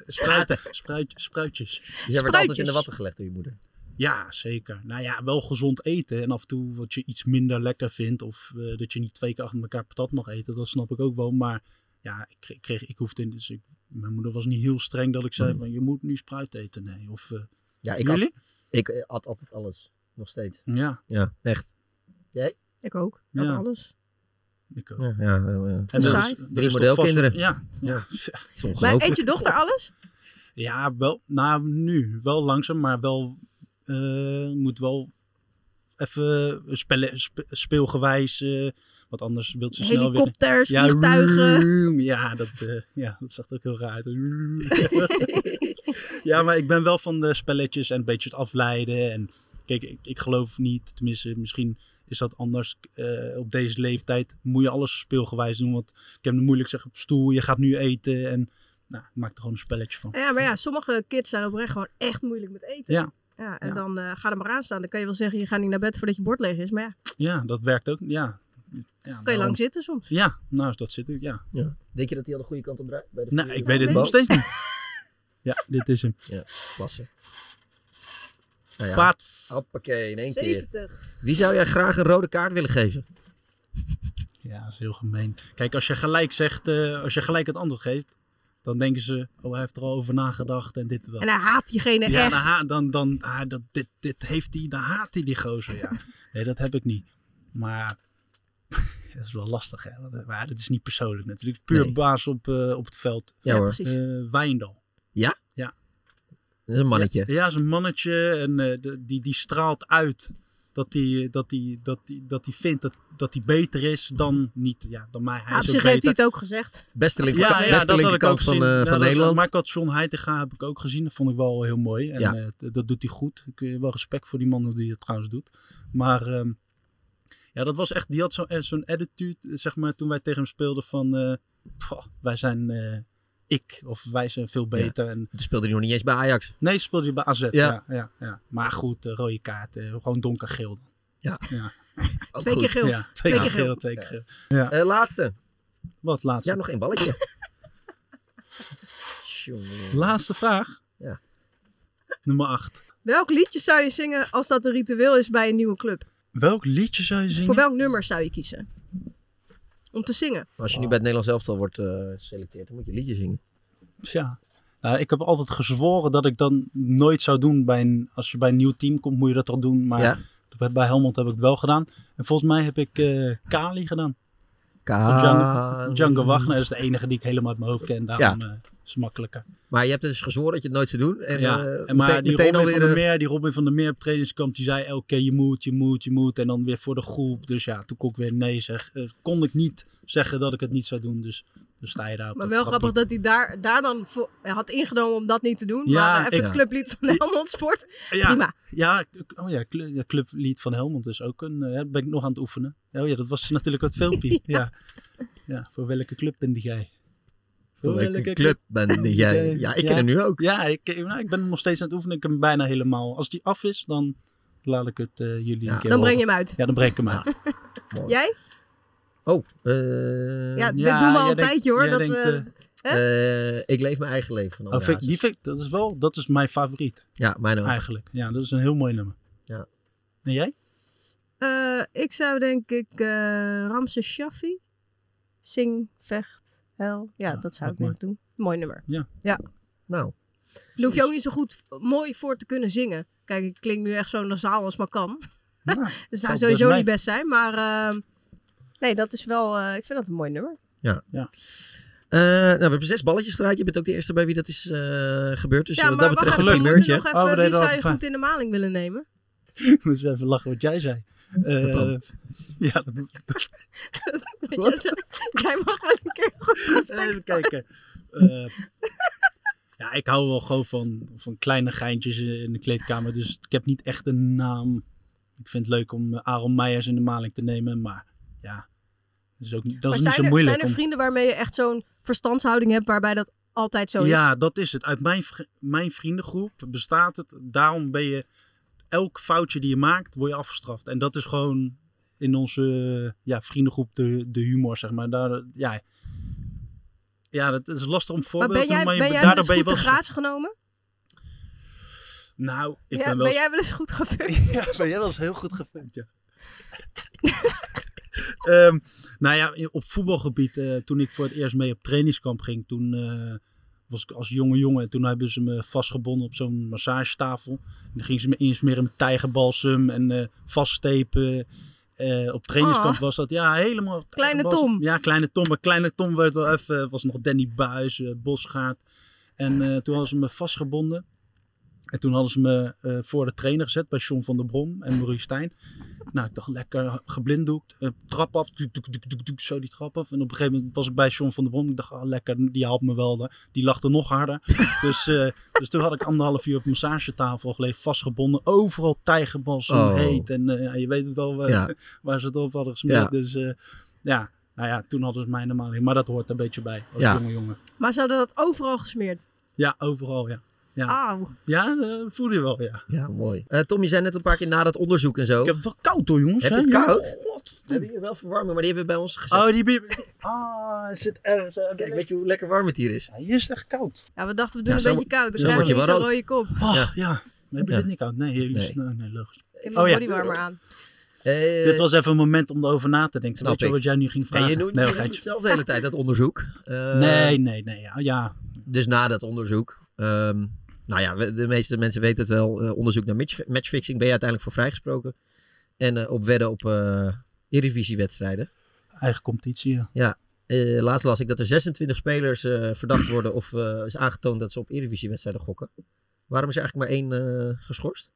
Speaker 6: spruiten, spruit, spruitjes.
Speaker 5: Dus jij werd altijd in de watten gelegd door je moeder.
Speaker 6: Ja, zeker. Nou ja, wel gezond eten. En af en toe wat je iets minder lekker vindt. Of eh, dat je niet twee keer achter elkaar patat mag eten. Dat snap ik ook wel. Maar ja, ik, kreeg- kreeg, ik hoefde... Dus ik, mijn moeder was niet heel streng dat ik zei...
Speaker 5: Nee.
Speaker 6: Maar je moet nu spruit eten. Nee. Of, eh,
Speaker 5: Ja, Hmm. ik
Speaker 6: jullie?
Speaker 5: Had, ik eh, at altijd alles. Nog steeds.
Speaker 6: Ja.
Speaker 5: Ja, echt. Jij?
Speaker 4: Ik ook.
Speaker 6: Ja.
Speaker 4: Dat alles.
Speaker 6: Ik ook.
Speaker 5: Ja, ja, ja.
Speaker 6: En
Speaker 4: Saai.
Speaker 6: er is- er is
Speaker 5: Drie
Speaker 6: toch
Speaker 5: modelkinderen.
Speaker 6: vast- Ja. ja.
Speaker 4: Maar eet je dochter alles?
Speaker 6: Ja, wel. Nou, nu. Wel langzaam, maar wel... eh, moet wel even spelle, spe- speelgewijs... eh, want anders wilt ze snel weer...
Speaker 4: Helikopters,
Speaker 6: Ja,
Speaker 4: vliegtuigen.
Speaker 6: Ja dat, eh, ja, dat zag er ook heel raar uit. ja, maar ik ben wel van de spelletjes en een beetje het afleiden. En kijk, ik, ik geloof niet, tenminste, misschien is dat anders. eh, op deze leeftijd moet je alles speelgewijs doen. Want ik heb het moeilijk zeggen op stoel, je gaat nu eten. En nou, ik maak er gewoon een spelletje van.
Speaker 4: Ja, maar ja, sommige kids zijn oprecht gewoon echt moeilijk met eten.
Speaker 6: Ja.
Speaker 4: en
Speaker 6: Ja.
Speaker 4: dan eh, ga er maar aan staan. Dan kan je wel zeggen, je gaat niet naar bed voordat je bord leeg is. Maar ja,
Speaker 6: Ja, dat werkt ook. Ja. Ja,
Speaker 4: kan je
Speaker 6: daarom-
Speaker 4: lang zitten soms.
Speaker 6: Ja, nou, dat zit ik, ja.
Speaker 5: Ja. Denk je dat hij al de goede kant op draait? Bij de
Speaker 6: Nou,
Speaker 5: vierde
Speaker 6: ik weet het
Speaker 5: bal?
Speaker 6: nog steeds niet. Ja, dit is hem.
Speaker 5: Ja, klasse. Nou ja.
Speaker 6: Pats.
Speaker 5: Hoppakee, in één keer.
Speaker 4: 70.
Speaker 5: Wie zou jij graag een rode kaart willen geven?
Speaker 6: Ja, dat is heel gemeen. Kijk, als je gelijk zegt, eh, als je gelijk het antwoord geeft, Dan denken ze, oh, hij heeft er al over nagedacht en dit en dat.
Speaker 4: En hij haat diegene
Speaker 6: ja, nou,
Speaker 4: echt.
Speaker 6: dan ha- dan, dan ah, dat, dit, dit heeft hij, dan haat hij die gozer, ja. Nee, dat heb ik niet. Maar dat is wel lastig, hè. Want, eh, Maar dat is niet persoonlijk natuurlijk. Puur
Speaker 5: Nee.
Speaker 6: baas op, eh, op het veld.
Speaker 5: Ja, Ja, hoor. precies.
Speaker 6: Eh, Wijndal.
Speaker 5: Ja?
Speaker 6: Ja.
Speaker 5: Dat is een mannetje.
Speaker 6: Ja, ja, is een mannetje en eh, de- die, die straalt uit dat hij dat die, dat die, dat die vindt dat, dat hij beter is dan niet. Ja, dan mij. Hij
Speaker 4: Nou,
Speaker 6: is
Speaker 4: op
Speaker 6: ook
Speaker 4: zich heeft hij
Speaker 6: beter.
Speaker 4: het ook gezegd.
Speaker 5: Beste linker- beste
Speaker 6: dat had ik ook
Speaker 5: linkerkant van,
Speaker 6: gezien.
Speaker 5: eh, van
Speaker 6: dat is-
Speaker 5: Nederland.
Speaker 6: Maar ik had John Heitinga heb ik ook gezien. Dat vond ik wel heel mooi. En
Speaker 5: Ja.
Speaker 6: eh, d- dat doet hij goed. Ik heb wel respect voor die man die het trouwens doet. Maar ehm, ja, dat was echt... Die had zo- eh, zo'n attitude, eh, zeg maar, toen wij tegen hem speelden van... eh, "Pah, wij zijn eh, ik of wij zijn veel beter. En,
Speaker 5: speelde hij nog niet eens bij Ajax.
Speaker 6: Nee, speelde hij bij AZ. Ja.
Speaker 5: Ja.
Speaker 6: Ja, ja, Maar goed, eh, rode kaart. eh, gewoon donkergeel.
Speaker 5: Ja.
Speaker 6: ja.
Speaker 5: Ook Twee keer goed. geel.
Speaker 6: Ja, twee, keer geel. Twee keer geel. Ja.
Speaker 5: Eh, laatste.
Speaker 6: Wat laatste?
Speaker 5: Ja, nog één balletje.
Speaker 6: Laatste vraag.
Speaker 5: Ja.
Speaker 6: Nummer 8.
Speaker 4: Welk liedje zou je zingen als dat een ritueel is bij een nieuwe club?
Speaker 6: Welk liedje zou je zingen?
Speaker 4: Voor welk nummer zou je kiezen? Om te zingen.
Speaker 5: Als je nu bij het Nederlands elftal wordt eh, geselecteerd, dan moet je een liedje zingen.
Speaker 6: Ja. Nou, ik heb altijd gezworen dat ik dan nooit zou doen. Bij een, als je bij een nieuw team komt, moet je dat toch doen. Maar
Speaker 5: Ja.
Speaker 6: bij- bij Helmond heb ik het wel gedaan. En volgens mij heb ik eh, Kali gedaan.
Speaker 5: Kali.
Speaker 6: Django- Django Wagner is de enige die ik helemaal uit mijn hoofd ken. Daarom
Speaker 5: Ja.
Speaker 6: eh, is het makkelijker.
Speaker 5: Maar je hebt dus gezworen dat je het nooit zou doen. En,
Speaker 6: ja,
Speaker 5: eh,
Speaker 6: en maar
Speaker 5: meteen,
Speaker 6: die
Speaker 5: meteen
Speaker 6: Robin
Speaker 5: alweer...
Speaker 6: van der
Speaker 5: eh,
Speaker 6: Meer, die Robin van der Meer op trainingskamp, die zei elke keer je moet, je moet, je moet. En dan weer voor de groep. Dus ja, toen kon ik weer nee zeggen. Eh, kon ik niet zeggen dat ik het niet zou doen. Dus dan sta je daar op
Speaker 4: Maar
Speaker 6: dat
Speaker 4: wel
Speaker 6: trapje.
Speaker 4: grappig dat hij daar, daar dan voor, hij had ingenomen om dat niet te doen.
Speaker 6: Ja,
Speaker 4: maar eh, even
Speaker 6: ik-
Speaker 4: het clublied van Helmond Sport.
Speaker 6: Ja,
Speaker 4: Prima.
Speaker 6: Ja, k- oh ja, cl- ja, clublied van Helmond is ook een. eh, ben ik nog aan het oefenen. Oh ja, dat was natuurlijk het filmpje. ja. Ja. voor welke club ben jij?
Speaker 5: Voor eh, welke club ben jij? Ja, ik ken hem nu ook.
Speaker 6: Ja, ik, nou, ik ben hem nog steeds aan het oefenen. Ik heb hem bijna helemaal. Als die af is, dan laat ik het eh, jullie een keer
Speaker 4: Dan breng je
Speaker 6: horen.
Speaker 4: hem uit.
Speaker 6: Ja, dan breng ik hem uit.
Speaker 4: Jij?
Speaker 5: Oh, eh,
Speaker 4: Ja, dit Ja, doen we al jij een denkt- tijdje, hoor, jij dat denkt, we- eh,
Speaker 5: Eh, ik leef mijn eigen leven. Van
Speaker 6: Oh, vind ik- die vind ik- dat is wel, dat is mijn favoriet.
Speaker 5: Ja, mijn ook.
Speaker 6: Eigenlijk. Ja, dat is een heel mooi nummer.
Speaker 5: Ja.
Speaker 6: En jij?
Speaker 4: Eh, ik zou denk ik eh Ramses Shaffi. Zing, vecht, hel. Ja, dat zou ik
Speaker 5: mooi.
Speaker 4: nog doen. Mooi nummer.
Speaker 6: Ja.
Speaker 4: ja.
Speaker 5: Nou,
Speaker 4: Daar hoef je ook niet zo goed mooi voor te kunnen zingen. Kijk, ik klink nu echt zo nasaal als maar kan.
Speaker 6: Nou,
Speaker 4: dat
Speaker 5: valt
Speaker 4: zou sowieso
Speaker 5: best mee.
Speaker 4: niet best zijn. Maar ehm, nee, dat is wel... eh, ik vind dat een mooi nummer.
Speaker 5: Ja.
Speaker 6: ja.
Speaker 5: nou, we hebben zes balletjes eruit. Je bent ook de eerste bij wie dat is eh, gebeurd. Dus
Speaker 4: ja,
Speaker 5: wat dat
Speaker 4: wacht
Speaker 5: betreft
Speaker 4: even,
Speaker 5: een
Speaker 4: we moeten nog
Speaker 5: primeurtje.
Speaker 4: even... wie zou je goed in de maling willen nemen?
Speaker 6: Moeten we even lachen wat jij zei. Eh,
Speaker 5: Wat dan?
Speaker 6: ja, dat-
Speaker 4: Jij mag wel een keer goed
Speaker 6: Even kijken. Eh, ja, ik hou wel gewoon van, van kleine geintjes eh, in de kleedkamer. Dus ik heb niet echt een naam. Ik vind het leuk om eh, Aaron Meijers in de maling te nemen. Maar ja, dat is, ook, niet- dat is
Speaker 4: maar
Speaker 6: niet
Speaker 4: zijn
Speaker 6: zo
Speaker 4: er,
Speaker 6: moeilijk.
Speaker 4: Zijn er
Speaker 6: om-
Speaker 4: vrienden waarmee je echt zo'n verstandshouding hebt waarbij dat altijd zo is?
Speaker 6: ja, dat is het. Uit mijn, vri- mijn vriendengroep bestaat het. Daarom ben je... Elk foutje die je maakt, word je afgestraft. En dat is gewoon in onze eh, ja, vriendengroep de, de humor, zeg maar. Daar, ja, ja, dat is lastig om
Speaker 4: maar
Speaker 6: voorbeeld te
Speaker 4: ben jij,
Speaker 6: noemen, maar
Speaker 4: ben
Speaker 6: je-
Speaker 4: jij wel
Speaker 6: daardoor
Speaker 4: eens
Speaker 6: ben je wel...
Speaker 4: goed te grazen genomen?
Speaker 6: Nou, ik
Speaker 4: ja,
Speaker 6: ben wel...
Speaker 4: jij wel eens goed gefukt?
Speaker 6: ja, ben jij wel eens heel goed gefukt, ja. Ehm, nou ja, in- op voetbalgebied, eh, toen ik voor het eerst mee op trainingskamp ging, toen eh, was ik als jonge jongen. En toen hebben ze me vastgebonden op zo'n massagetafel. En dan gingen ze me insmeren met tijgerbalsem en eh, vaststepen. Eh, op trainingskamp
Speaker 4: Ah.
Speaker 6: was dat, ja, helemaal.
Speaker 4: Kleine
Speaker 6: tijgerbalsem.
Speaker 4: Tom.
Speaker 6: Ja, kleine Tom. Maar kleine Tom werd wel even, was nog Danny Buis, eh, Bosgaard. En eh, toen hadden ze me vastgebonden. En toen hadden ze me eh, voor de trainer gezet bij John van der Brom en Maurice Stijn. Nou, ik dacht lekker geblinddoekt. eh, trap af, doek, doek, doek, doek, doek, zo die trap af. En op een gegeven moment was ik bij John van der Brom. Ik dacht, ah, lekker, die haalt me wel. hè. Die lachte nog harder. dus, eh, dus toen had ik anderhalf uur op massagetafel gelegen, vastgebonden. Overal tijgerbals,
Speaker 5: Oh.
Speaker 6: heet. En eh, ja, je weet het wel eh,
Speaker 5: Ja.
Speaker 6: waar ze het op hadden gesmeerd.
Speaker 5: Ja.
Speaker 6: Dus eh, ja, nou ja, toen hadden ze mij normaal niet. Maar dat hoort er een beetje bij als
Speaker 5: Ja.
Speaker 6: jonge jongen.
Speaker 4: Maar ze hadden dat overal gesmeerd.
Speaker 6: Ja, overal, ja. Ja,
Speaker 4: Auw.
Speaker 6: ja dat voelde je wel, ja.
Speaker 5: Ja, mooi. Eh, Tom, je zei net een paar keer na dat onderzoek en zo. Ik heb
Speaker 6: het wel koud hoor, jongens.
Speaker 5: Heb je
Speaker 6: hè?
Speaker 5: het
Speaker 6: Ja,
Speaker 5: koud? We hebben hier wel verwarming, maar die hebben we bij ons gezet.
Speaker 6: Oh, die bier. Ah, het zit ergens.
Speaker 5: Kijk, weet je hoe lekker warm het hier is?
Speaker 6: hier is het echt koud.
Speaker 4: Ja, we dachten we doen
Speaker 5: Ja,
Speaker 4: een
Speaker 5: zo-
Speaker 4: beetje koud. Dan
Speaker 5: zo
Speaker 4: krijg
Speaker 5: word
Speaker 4: je
Speaker 5: je
Speaker 4: niet
Speaker 5: wel
Speaker 4: zo'n
Speaker 5: rood.
Speaker 4: rode kop.
Speaker 6: Oh, ja. Maar heb je
Speaker 5: Ja.
Speaker 6: dit niet koud? Nee, hier is
Speaker 5: Nee.
Speaker 6: nee, nee logisch.
Speaker 4: Ik heb
Speaker 6: Oh,
Speaker 4: mijn
Speaker 6: ja.
Speaker 4: bodywarmer aan.
Speaker 5: Eh,
Speaker 6: Dit was even een moment om erover na te denken.
Speaker 5: Snap
Speaker 6: Weet je
Speaker 5: ik.
Speaker 6: wat jij nu ging
Speaker 5: En
Speaker 6: vragen?
Speaker 5: je
Speaker 6: nee,
Speaker 5: doet, je
Speaker 6: hoor,
Speaker 5: doet
Speaker 6: geitje.
Speaker 5: het zelf de hele tijd, dat onderzoek. Eh,
Speaker 6: Nee, nee, nee. Ja, ja.
Speaker 5: dus na dat onderzoek. ehm, nou ja, we- de meeste mensen weten het wel. eh, onderzoek naar match- matchfixing ben je uiteindelijk voor vrijgesproken. En eh, op wedden op eh Eredivisie-wedstrijden.
Speaker 6: Eigen competitie, ja.
Speaker 5: Ja, eh, laatst las ik dat er 26 spelers eh, verdacht worden of eh, is aangetoond dat ze op Eredivisie-wedstrijden gokken. Waarom is er eigenlijk maar één eh, geschorst?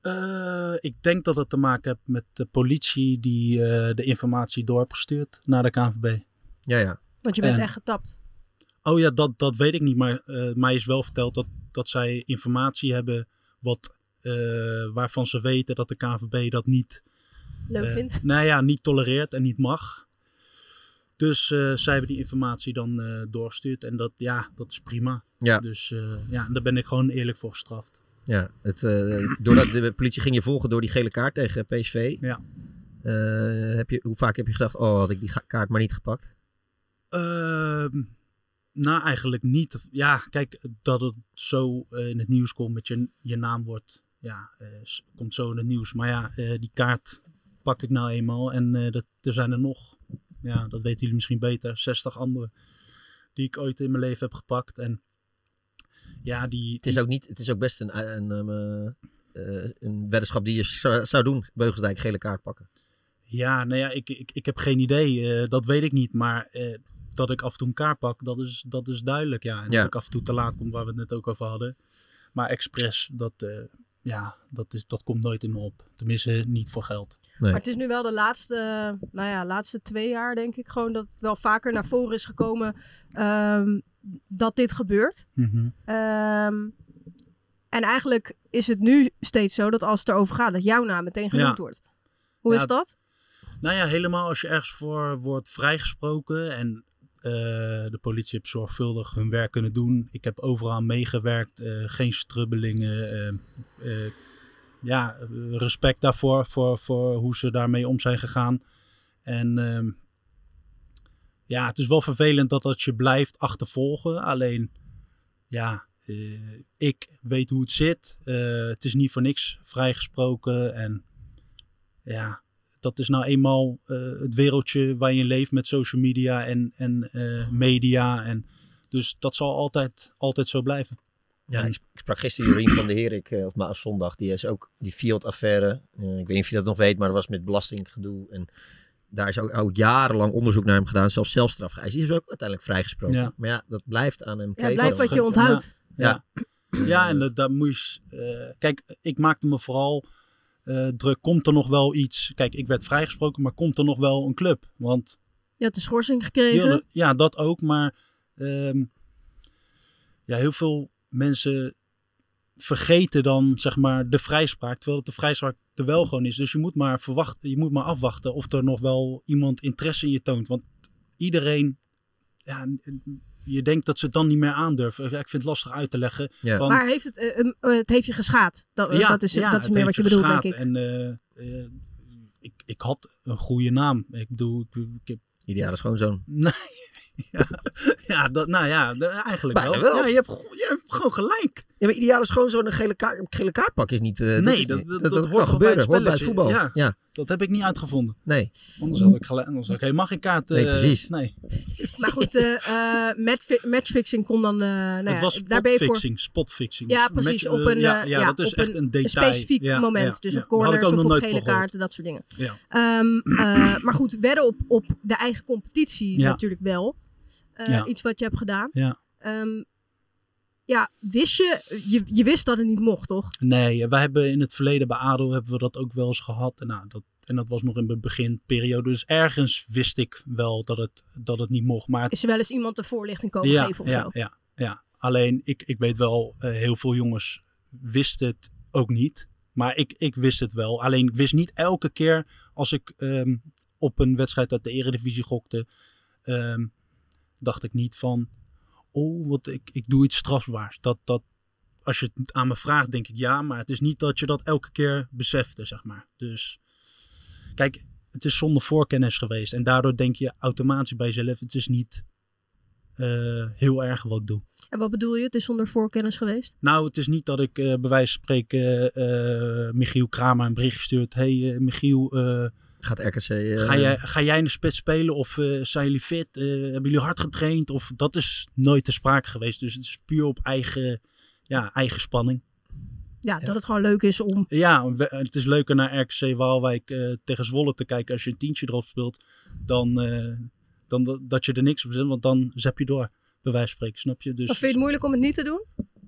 Speaker 6: Eh, ik denk dat het te maken heeft met de politie die eh, de informatie door heeft gestuurd naar de KNVB.
Speaker 5: Ja, ja.
Speaker 4: Want je bent
Speaker 6: En-
Speaker 4: echt getapt.
Speaker 6: Oh ja, dat, dat weet ik niet. Maar eh, mij is wel verteld dat, dat zij informatie hebben wat, eh, waarvan ze weten dat de KNVB dat niet...
Speaker 4: Leuk
Speaker 6: eh,
Speaker 4: vindt.
Speaker 6: Nou ja, niet tolereert en niet mag. Dus eh, zij hebben die informatie dan eh doorgestuurd. En dat, ja, dat is prima.
Speaker 5: Ja.
Speaker 6: Dus eh, ja, daar ben ik gewoon eerlijk voor gestraft.
Speaker 5: Ja, het, eh, doordat de politie ging je volgen door die gele kaart tegen PSV.
Speaker 6: Ja.
Speaker 5: Eh, heb je, hoe vaak heb je gedacht, oh had ik die ga- kaart maar niet gepakt?
Speaker 6: Ehm, nou, eigenlijk niet. Ja, kijk, dat het zo eh, in het nieuws komt met je, je naam wordt. Ja, eh, s- komt zo in het nieuws. Maar ja, eh, die kaart pak ik nou eenmaal. En eh, dat, er zijn er nog, ja, dat weten jullie misschien beter, 60 andere die ik ooit in mijn leven heb gepakt. En ja, die...
Speaker 5: Het is ook, niet, het is ook best een, een, een, eh, een weddenschap die je zou- zou doen, Beugelsdijk gele kaart pakken.
Speaker 6: Ja, nou ja, ik, ik, ik heb geen idee. eh, dat weet ik niet. Maar eh, dat ik af en toe een kaart pak, dat is, dat is duidelijk. Ja. En
Speaker 5: Ja.
Speaker 6: dat ik af en toe te laat kom, waar we het net ook over hadden. Maar expres, dat, eh, ja, dat, is, dat komt nooit in me op. Tenminste, niet voor geld.
Speaker 4: Maar het is nu wel de laatste, nou ja, laatste twee jaar denk ik gewoon dat het wel vaker naar voren is gekomen ehm, dat dit gebeurt.
Speaker 6: Mhm.
Speaker 4: Ehm, en eigenlijk is het nu steeds zo dat als het erover gaat, dat jouw naam meteen genoemd
Speaker 6: Ja.
Speaker 4: wordt. Hoe
Speaker 6: Ja,
Speaker 4: is dat?
Speaker 6: Nou ja, helemaal als je ergens voor wordt vrijgesproken en eh, de politie heeft zorgvuldig hun werk kunnen doen. Ik heb overal meegewerkt, eh, geen strubbelingen. eh, eh, ja, eh, respect daarvoor, voor, voor hoe ze daarmee om zijn gegaan. En ehm, ja, het is wel vervelend dat dat je blijft achtervolgen. Alleen, ja, eh, ik weet hoe het zit. Eh, het is niet voor niks vrijgesproken en ja, dat is nou eenmaal eh, het wereldje waar je in leeft met social media en, en eh, media. En, dus dat zal altijd, altijd zo blijven.
Speaker 5: Ja,
Speaker 6: En-
Speaker 5: ik sp- ik sprak gisteren Jorien van de Herik, eh, of maar zondag, die is ook die Field-affaire. eh, ik weet niet of je dat nog weet, maar dat was met belastinggedoe. En daar is ook, ook jarenlang onderzoek naar hem gedaan, zelfs zelfstraf geëist. Die is ook uiteindelijk vrijgesproken.
Speaker 6: Ja.
Speaker 5: Maar ja, dat blijft aan hem kleven.
Speaker 4: blijft wat je onthoudt.
Speaker 5: Ja.
Speaker 6: Ja, en dat, dat moet je... s- eh, kijk, ik maakte me vooral eh, druk. Komt er nog wel iets? Kijk, ik werd vrijgesproken, maar komt er nog wel een club? Want
Speaker 4: Je had een schorsing gekregen.
Speaker 6: Heel- ja, dat ook. Maar ehm, ja, heel veel mensen vergeten dan zeg maar de vrijspraak. Terwijl het de vrijspraak er wel gewoon is. Dus je moet maar, verwachten, je moet maar afwachten of er nog wel iemand interesse in je toont. Want iedereen... Ja, je denkt dat ze het dan niet meer aandurven. Ja, Ik vind het lastig uit te leggen.
Speaker 5: Ja.
Speaker 6: want-
Speaker 4: Maar heeft het, eh, eh, het heeft je geschaad. Dat, eh, dat is, dat is
Speaker 6: het
Speaker 4: meer
Speaker 6: heeft
Speaker 4: wat je bedoelt, denk ik.
Speaker 6: geschaad. En eh, eh, ik, ik had een goede naam. Ik bedoel, ik, ik heb...
Speaker 5: Ideale schoonzoon.
Speaker 6: Nee, ja, ja, dat, nou ja, de- eigenlijk
Speaker 5: Bijna
Speaker 6: wel.
Speaker 5: wel.
Speaker 6: Ja, je hebt, go- je hebt gewoon gelijk.
Speaker 5: Ja, maar ideaal is gewoon zo'n gele, kaart- gele kaartpak is niet... eh, dat
Speaker 6: nee,
Speaker 5: is-
Speaker 6: dat, dat,
Speaker 5: kan
Speaker 6: dat hoort gewoon bij het,
Speaker 5: gebeuren, hoort bij het
Speaker 6: spelletje.
Speaker 5: voetbal. Ja.
Speaker 6: Ja, Dat heb ik niet uitgevonden.
Speaker 5: Nee.
Speaker 6: Anders had ik, gelijk, anders had ik helemaal geen kaart.
Speaker 5: Nee,
Speaker 6: eh,
Speaker 5: precies.
Speaker 6: Nee.
Speaker 4: Maar goed, eh, eh, matchfi- matchfixing kon dan... eh nou
Speaker 6: het
Speaker 4: ja,
Speaker 6: was
Speaker 4: daar ben je voor.
Speaker 6: spotfixing. Spotfixing.
Speaker 4: Ja,
Speaker 6: Match-
Speaker 4: precies.
Speaker 6: eh,
Speaker 4: op een,
Speaker 6: ja,
Speaker 4: eh,
Speaker 6: ja,
Speaker 4: ja,
Speaker 6: dat is
Speaker 4: op
Speaker 6: echt een detail.
Speaker 4: specifiek
Speaker 6: Ja,
Speaker 4: moment.
Speaker 6: ja,
Speaker 4: dus
Speaker 6: ja.
Speaker 4: een corner,
Speaker 6: Had ik ook
Speaker 4: of
Speaker 6: nog
Speaker 4: op
Speaker 6: nooit
Speaker 4: gele
Speaker 6: van gehoord.
Speaker 4: kaarten, dat soort dingen.
Speaker 6: Ja.
Speaker 4: Ehm, eh, maar goed, wedden op, op de eigen competitie
Speaker 6: Ja.
Speaker 4: natuurlijk wel. Eh,
Speaker 6: Ja.
Speaker 4: Iets wat je hebt gedaan.
Speaker 6: Ja.
Speaker 4: Ehm, ja, wist je, je... Je wist dat het niet mocht, toch?
Speaker 6: Nee, wij hebben in het verleden bij ADO hebben we dat ook wel eens gehad. En, nou, dat, en dat was nog in de beginperiode. Dus ergens wist ik wel dat het, dat het niet mocht. Maar het-
Speaker 4: Is er wel eens iemand de voorlichting komen
Speaker 6: ja,
Speaker 4: geven of
Speaker 6: ja,
Speaker 4: zo?
Speaker 6: Ja, ja. alleen ik, ik weet wel, eh, heel veel jongens wisten het ook niet. Maar ik, ik wist het wel. Alleen ik wist niet elke keer als ik ehm, op een wedstrijd uit de eredivisie gokte, ehm, dacht ik niet van, oh, wat, ik, ik doe iets strafbaars. Dat, dat, als je het aan me vraagt, denk ik ja. Maar het is niet dat je dat elke keer besefte, zeg maar. Dus kijk, het is zonder voorkennis geweest. En daardoor denk je automatisch bij jezelf, het is niet eh, heel erg wat ik doe.
Speaker 4: En wat bedoel je? Het is zonder voorkennis geweest?
Speaker 6: Nou, het is niet dat ik eh, bij wijze van spreken eh, Michiel Kramer een bericht gestuurd. hey, eh, Michiel, eh,
Speaker 5: Gaat RKC... eh,
Speaker 6: Ga jij, ga jij in de spits spelen of eh, zijn jullie fit? Eh, hebben jullie hard getraind? Of dat is nooit te sprake geweest. Dus het is puur op eigen, ja, eigen spanning.
Speaker 4: Ja, dat het gewoon leuk is om...
Speaker 6: Ja, we- het is leuker naar RKC Waalwijk eh, tegen Zwolle te kijken als je een tientje erop speelt. Dan, eh, dan dat- dat je er niks op zet, want dan zap je door. Bij wijze van spreken, snap je?
Speaker 4: Of vind
Speaker 6: Dus,
Speaker 4: je het moeilijk om het niet te doen?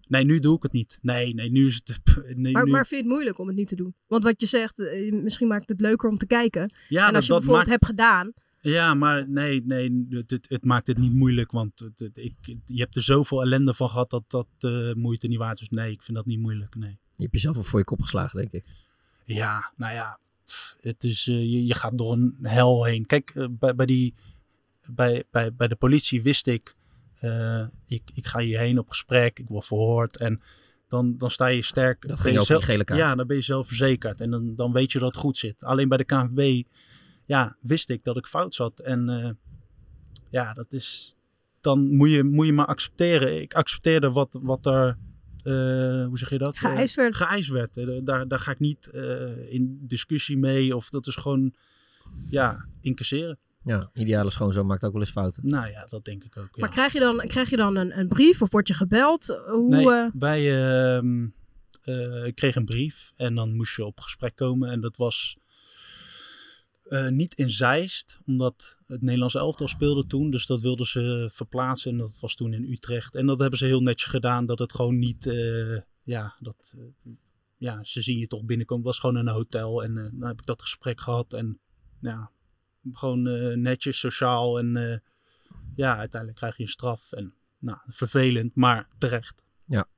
Speaker 6: nee, nu doe ik het niet. Nee, nee, nu is het... nee,
Speaker 4: maar,
Speaker 6: nu-
Speaker 4: maar vind je het moeilijk om het niet te doen? Want wat je zegt, eh, misschien maakt het leuker om te kijken.
Speaker 6: Ja,
Speaker 4: en
Speaker 6: maar
Speaker 4: als je
Speaker 6: dat maakt-
Speaker 4: bijvoorbeeld hebt gedaan,
Speaker 6: Ja, maar nee, nee het, het, het maakt het niet moeilijk. Want het- het- ik, je hebt er zoveel ellende van gehad dat dat eh, moeite niet waard is. Nee, ik vind dat niet moeilijk. Nee.
Speaker 5: Je hebt jezelf al voor je kop geslagen, denk ik.
Speaker 6: Ja, nou ja. pff, Het is, eh, je, je gaat door een hel heen. Kijk, eh, bij, bij, die, bij, bij, bij de politie wist ik, eh, ik, ik ga hierheen op gesprek, ik word verhoord. En dan, dan sta je sterk.
Speaker 5: Dat
Speaker 6: ben
Speaker 5: ging
Speaker 6: je
Speaker 5: over die
Speaker 6: zelf-
Speaker 5: gele kaart.
Speaker 6: Ja, dan ben je zelfverzekerd. En dan, dan weet je dat het goed zit. Alleen bij de KNVB, ja, wist ik dat ik fout zat. En eh, ja, dat is, dan moet je, moet je maar accepteren. Ik accepteerde wat, wat er, eh, hoe zeg je dat?
Speaker 4: Geëist
Speaker 6: werd. Geëist werd. Eh, Daar, daar ga ik niet eh, in discussie mee. Of dat is gewoon, ja, incasseren.
Speaker 5: Ja, ideale schoonzoon maakt ook wel eens fouten.
Speaker 6: Nou ja, dat denk ik ook. Ja.
Speaker 4: maar krijg je dan, krijg je dan een, een brief of word je gebeld? Eh, Hoe,
Speaker 6: nee,
Speaker 4: eh,
Speaker 6: wij, ehm, eh, ik kreeg een brief en dan moest je op gesprek komen. En dat was eh, niet in Zeist, omdat het Nederlands elftal speelde toen. Dus dat wilden ze verplaatsen en dat was toen in Utrecht. En dat hebben ze heel netjes gedaan, dat het gewoon niet... eh, ja, dat, eh, ja, ze zien je toch binnenkomen. Het was gewoon in een hotel en eh nou heb ik dat gesprek gehad. En ja, gewoon eh, netjes, sociaal en... eh, ja, uiteindelijk krijg je een straf en nou, vervelend, maar terecht.
Speaker 5: Ja.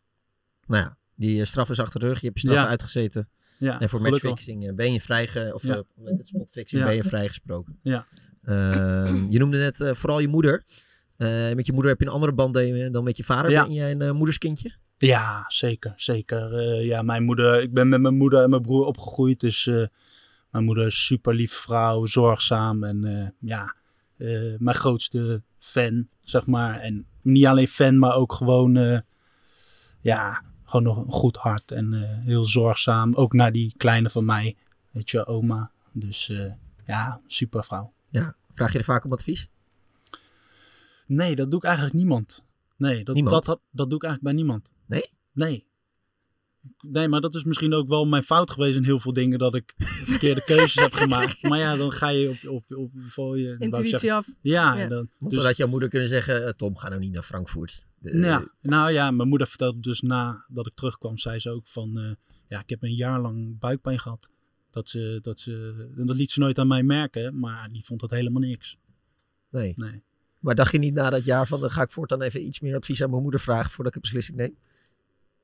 Speaker 5: Nou ja, die eh, straf is achter de rug. Je hebt je straf
Speaker 6: Ja.
Speaker 5: uitgezeten.
Speaker 6: Ja,
Speaker 5: en voor
Speaker 6: gelukkig wel.
Speaker 5: matchfixing eh, ben je vrijge... Of
Speaker 6: Ja.
Speaker 5: eh, hoe heet het, spotfixing
Speaker 6: Ja.
Speaker 5: ben je vrijgesproken.
Speaker 6: Ja.
Speaker 5: Ehm, je noemde net eh, vooral je moeder. Eh, met je moeder heb je een andere band dan met je vader.
Speaker 6: Ja.
Speaker 5: Ben jij een eh, moederskindje?
Speaker 6: Ja, zeker, zeker. Eh, ja, mijn moeder, ik ben met mijn moeder en mijn broer opgegroeid, dus eh, mijn moeder is super lief vrouw, zorgzaam en eh, ja, eh, mijn grootste fan, zeg maar. En niet alleen fan, maar ook gewoon, eh, ja, gewoon nog een goed hart en eh, heel zorgzaam. Ook naar die kleine van mij, weet je, oma. Dus eh, ja, super vrouw.
Speaker 5: Ja. Vraag je er vaak om advies?
Speaker 6: Nee, dat doe ik eigenlijk niemand. Nee, dat,
Speaker 5: Niemand?
Speaker 6: Dat, had- dat doe ik eigenlijk bij niemand.
Speaker 5: Nee?
Speaker 6: Nee. Nee, maar dat is misschien ook wel mijn fout geweest in heel veel dingen dat ik verkeerde keuzes heb gemaakt. Maar ja, dan ga je op, op, op, voor je wou ik zeggen. Ja, en dan,
Speaker 5: Want
Speaker 6: dus,
Speaker 5: dan had jouw moeder kunnen zeggen... eh, Tom, ga nou niet naar Frankfurt. Eh, De-
Speaker 6: ja, nou ja, mijn moeder vertelde dus na dat ik terugkwam, zei ze ook van, eh, ja, ik heb een jaar lang buikpijn gehad. Dat ze, dat ze, en dat liet ze nooit aan mij merken, maar die vond dat helemaal niks.
Speaker 5: Nee.
Speaker 6: Nee.
Speaker 5: Maar dacht je niet na dat jaar van... dan ga ik voortaan even iets meer advies aan mijn moeder vragen... voordat ik een beslissing neem?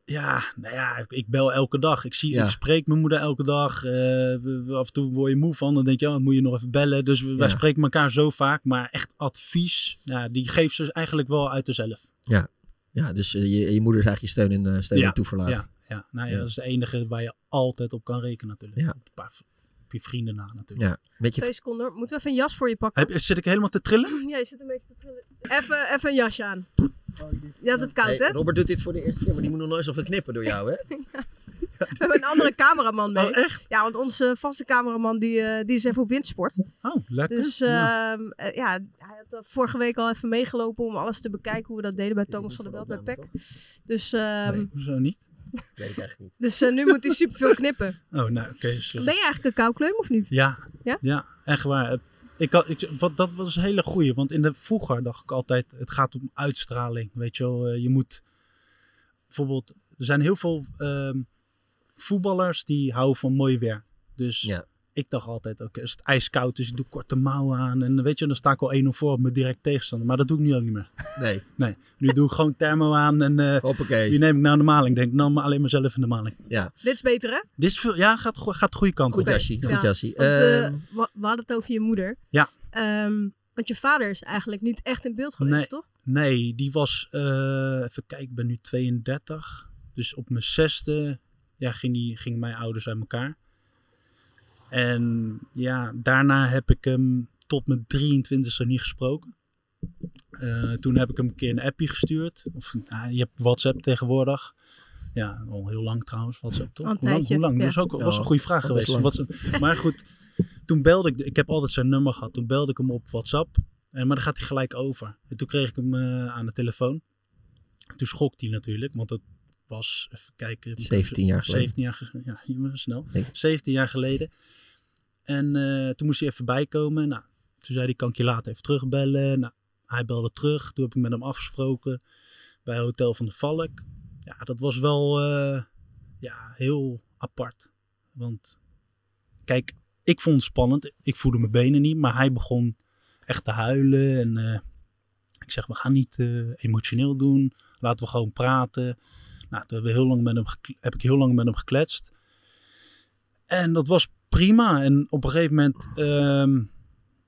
Speaker 6: Ja, nou ja, ik- ik bel elke dag. Ik, zie,
Speaker 5: Ja.
Speaker 6: ik spreek mijn moeder elke dag. Eh, we- we- af en toe word je moe van. Dan denk je, oh, dan moet je nog even bellen. Dus we- wij
Speaker 5: Ja.
Speaker 6: spreken elkaar zo vaak. Maar echt advies, ja, die geeft ze eigenlijk wel uit zichzelf.
Speaker 5: Ja, ja dus eh, je, je moeder is eigenlijk je steun en, eh, steun
Speaker 6: ja.
Speaker 5: en toeverlaat.
Speaker 6: Ja, ja. Nou ja,
Speaker 5: Ja.
Speaker 6: dat is de enige waar je altijd op kan rekenen natuurlijk.
Speaker 5: Ja.
Speaker 6: Op, een paar, op je vrienden na natuurlijk.
Speaker 5: Ja, weet
Speaker 4: twee seconden, hoor. moeten we even een jas voor je pakken?
Speaker 6: Heb, zit ik helemaal te trillen?
Speaker 4: Ja, je zit een beetje te trillen. Even, even een jasje aan. Je had het koud,
Speaker 5: Hey,
Speaker 4: hè?
Speaker 5: Robert doet dit voor de eerste keer, maar die moet nog nooit zoveel knippen door jou, hè?
Speaker 4: We hebben een andere cameraman
Speaker 6: Oh,
Speaker 4: mee. Ja, want onze vaste cameraman die, eh, die is even op windsport.
Speaker 6: Oh, lekker.
Speaker 4: Dus ehm, eh, ja, hij had dat vorige week al even meegelopen om alles te bekijken hoe we dat deden bij Thomas van der Belt bij PEC. Dus, ehm,
Speaker 6: Hoezo niet?
Speaker 5: Weet ik eigenlijk niet.
Speaker 4: dus eh, nu moet hij superveel knippen.
Speaker 6: Oh, nou oké. sorry.
Speaker 4: Ben je eigenlijk een koukleum of niet?
Speaker 6: Ja,
Speaker 4: Ja?
Speaker 6: ja? echt waar. Het- Ik had, ik, wat, dat was een hele goeie. Want in de, vroeger dacht ik altijd, het gaat om uitstraling. Weet je wel, Eh, je moet bijvoorbeeld, er zijn heel veel ehm, voetballers die houden van mooi weer. Dus ik dacht altijd, oké, als het ijskoud is, ik doe korte mouwen aan. En weet je, dan sta ik al 1-0 voor op mijn direct tegenstander. Maar dat doe ik nu ook niet meer.
Speaker 5: Nee.
Speaker 6: Nee, nu doe ik gewoon thermo aan en eh die neem ik naar de maling. Denk, ik nam maar alleen mezelf in de maling.
Speaker 5: Ja,
Speaker 4: Dit is beter, hè?
Speaker 6: Dit is veel, ja gaat, go- gaat de goede kant
Speaker 5: Goed
Speaker 6: op.
Speaker 5: jasje, Ehm,
Speaker 4: Ja, want, eh, wa- we hadden het over je moeder.
Speaker 6: Ehm, Ja.
Speaker 4: Ehm, want je vader is eigenlijk niet echt in beeld geweest,
Speaker 6: nee,
Speaker 4: toch?
Speaker 6: Nee, die was, eh, even kijken, ik ben nu 32. Dus op mijn zesde ja, ging die, gingen mijn ouders uit elkaar. En ja, daarna heb ik hem tot mijn 23e niet gesproken. Eh, toen heb ik hem een keer een appje gestuurd. Of, nou, je hebt WhatsApp tegenwoordig. Ja, al heel lang trouwens, WhatsApp toch?
Speaker 4: Al een
Speaker 6: hoe lang?
Speaker 4: tijdje,
Speaker 6: Hoe lang?
Speaker 4: ja.
Speaker 6: Dat is ook, was
Speaker 5: Ja,
Speaker 6: een goede vraag
Speaker 5: al best
Speaker 6: geweest.
Speaker 5: lang.
Speaker 6: WhatsApp. Maar goed, toen belde ik, ik heb altijd zijn nummer gehad, toen belde ik hem op WhatsApp. En, Eh, maar dan gaat hij gelijk over. En toen kreeg ik hem eh, aan de telefoon. Toen schokt hij natuurlijk, want dat was, even kijken. moet ik
Speaker 5: 17 jaar
Speaker 6: even- 17 jaar geleden. Ja, je bent snel.
Speaker 5: Nee.
Speaker 6: 17 jaar geleden. En eh, toen moest hij even bijkomen. Nou, toen zei hij, kan ik je later even terugbellen? Nou, hij belde terug. Toen heb ik met hem afgesproken bij Hotel van de Valk. Ja, dat was wel eh, ja, heel apart. Want kijk, ik vond het spannend. Ik voelde mijn benen niet, maar hij begon echt te huilen. En eh, ik zeg, we gaan niet eh, emotioneel doen. Laten we gewoon praten. Nou, toen hebben we heel lang met hem gekle- heb ik heel lang met hem gekletst. En dat was prima. En op een gegeven moment ehm,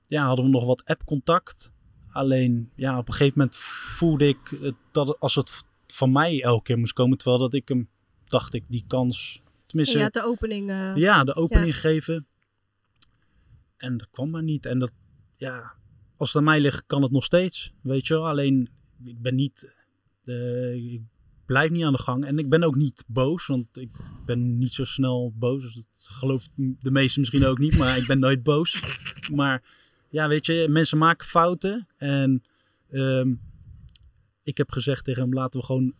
Speaker 6: ja, hadden we nog wat app-contact. Alleen ja, op een gegeven moment voelde ik het, dat het- als het v- van mij elke keer moest komen. Terwijl dat ik hem, dacht ik, die kans... Tenminste,
Speaker 4: Ja, de opening. eh,
Speaker 6: ja, de opening
Speaker 4: ja.
Speaker 6: geven. En dat kwam maar niet. En dat, ja, als het aan mij ligt, kan het nog steeds. Weet je wel, alleen ik ben niet, eh, ik blijf niet aan de gang. En ik ben ook niet boos, want ik ben niet zo snel boos. Dus dat gelooft de meesten misschien ook niet, maar ik ben nooit boos. Maar ja, weet je, mensen maken fouten. En ehm, ik heb gezegd tegen hem, laten we gewoon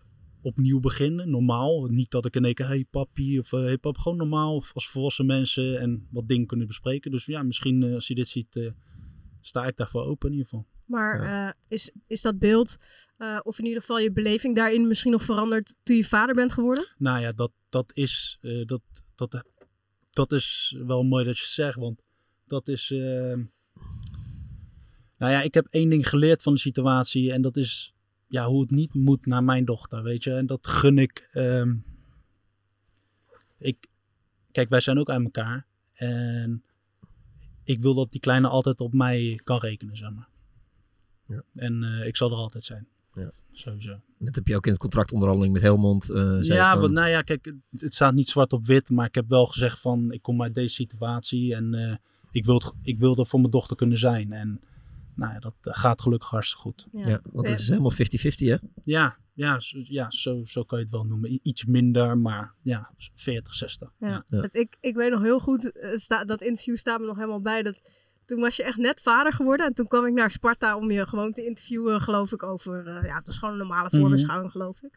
Speaker 6: opnieuw beginnen. Normaal. Niet dat ik in één keer, hey papi, of eh, hey pap. Gewoon normaal als volwassen mensen en wat dingen kunnen bespreken. Dus ja, misschien eh, als je dit ziet, eh, sta ik daarvoor open in ieder geval.
Speaker 4: Maar eh, is, is dat beeld, eh, of in ieder geval je beleving daarin misschien nog veranderd toen je vader bent geworden?
Speaker 6: Nou ja, dat, dat is... eh, dat, dat, dat is wel mooi dat je zegt, want dat is... eh, nou ja, ik heb één ding geleerd van de situatie en dat is ja, hoe het niet moet naar mijn dochter, weet je. En dat gun ik... ehm, ik kijk, wij zijn ook aan elkaar en ik wil dat die kleine altijd op mij kan rekenen, zeg maar.
Speaker 5: Ja.
Speaker 6: En eh, ik zal er altijd zijn,
Speaker 5: Ja.
Speaker 6: sowieso.
Speaker 5: Dat heb je ook in het contractonderhandeling met Helmond. eh, zei
Speaker 6: ja,
Speaker 5: van-
Speaker 6: want nou ja, kijk, het- het staat niet zwart op wit, maar ik heb wel gezegd van, ik kom uit deze situatie en eh, ik, wil het- ik wil er voor mijn dochter kunnen zijn. En nou ja, dat eh, gaat gelukkig hartstikke goed.
Speaker 5: ja. want het is helemaal 50-50 hè?
Speaker 6: Ja, ja, zo, ja zo, zo kan je het wel noemen. I- Iets minder, maar ja, 40, 60.
Speaker 4: Ja.
Speaker 6: ja.
Speaker 4: Het- ik, ik weet nog heel goed, eh, sta, dat interview staat me nog helemaal bij. Dat, toen was je echt net vader geworden en toen kwam ik naar Sparta om je gewoon te interviewen, geloof ik, over... eh, ja, het was gewoon een normale
Speaker 15: Mhm.
Speaker 4: voorbeschouwing, geloof ik.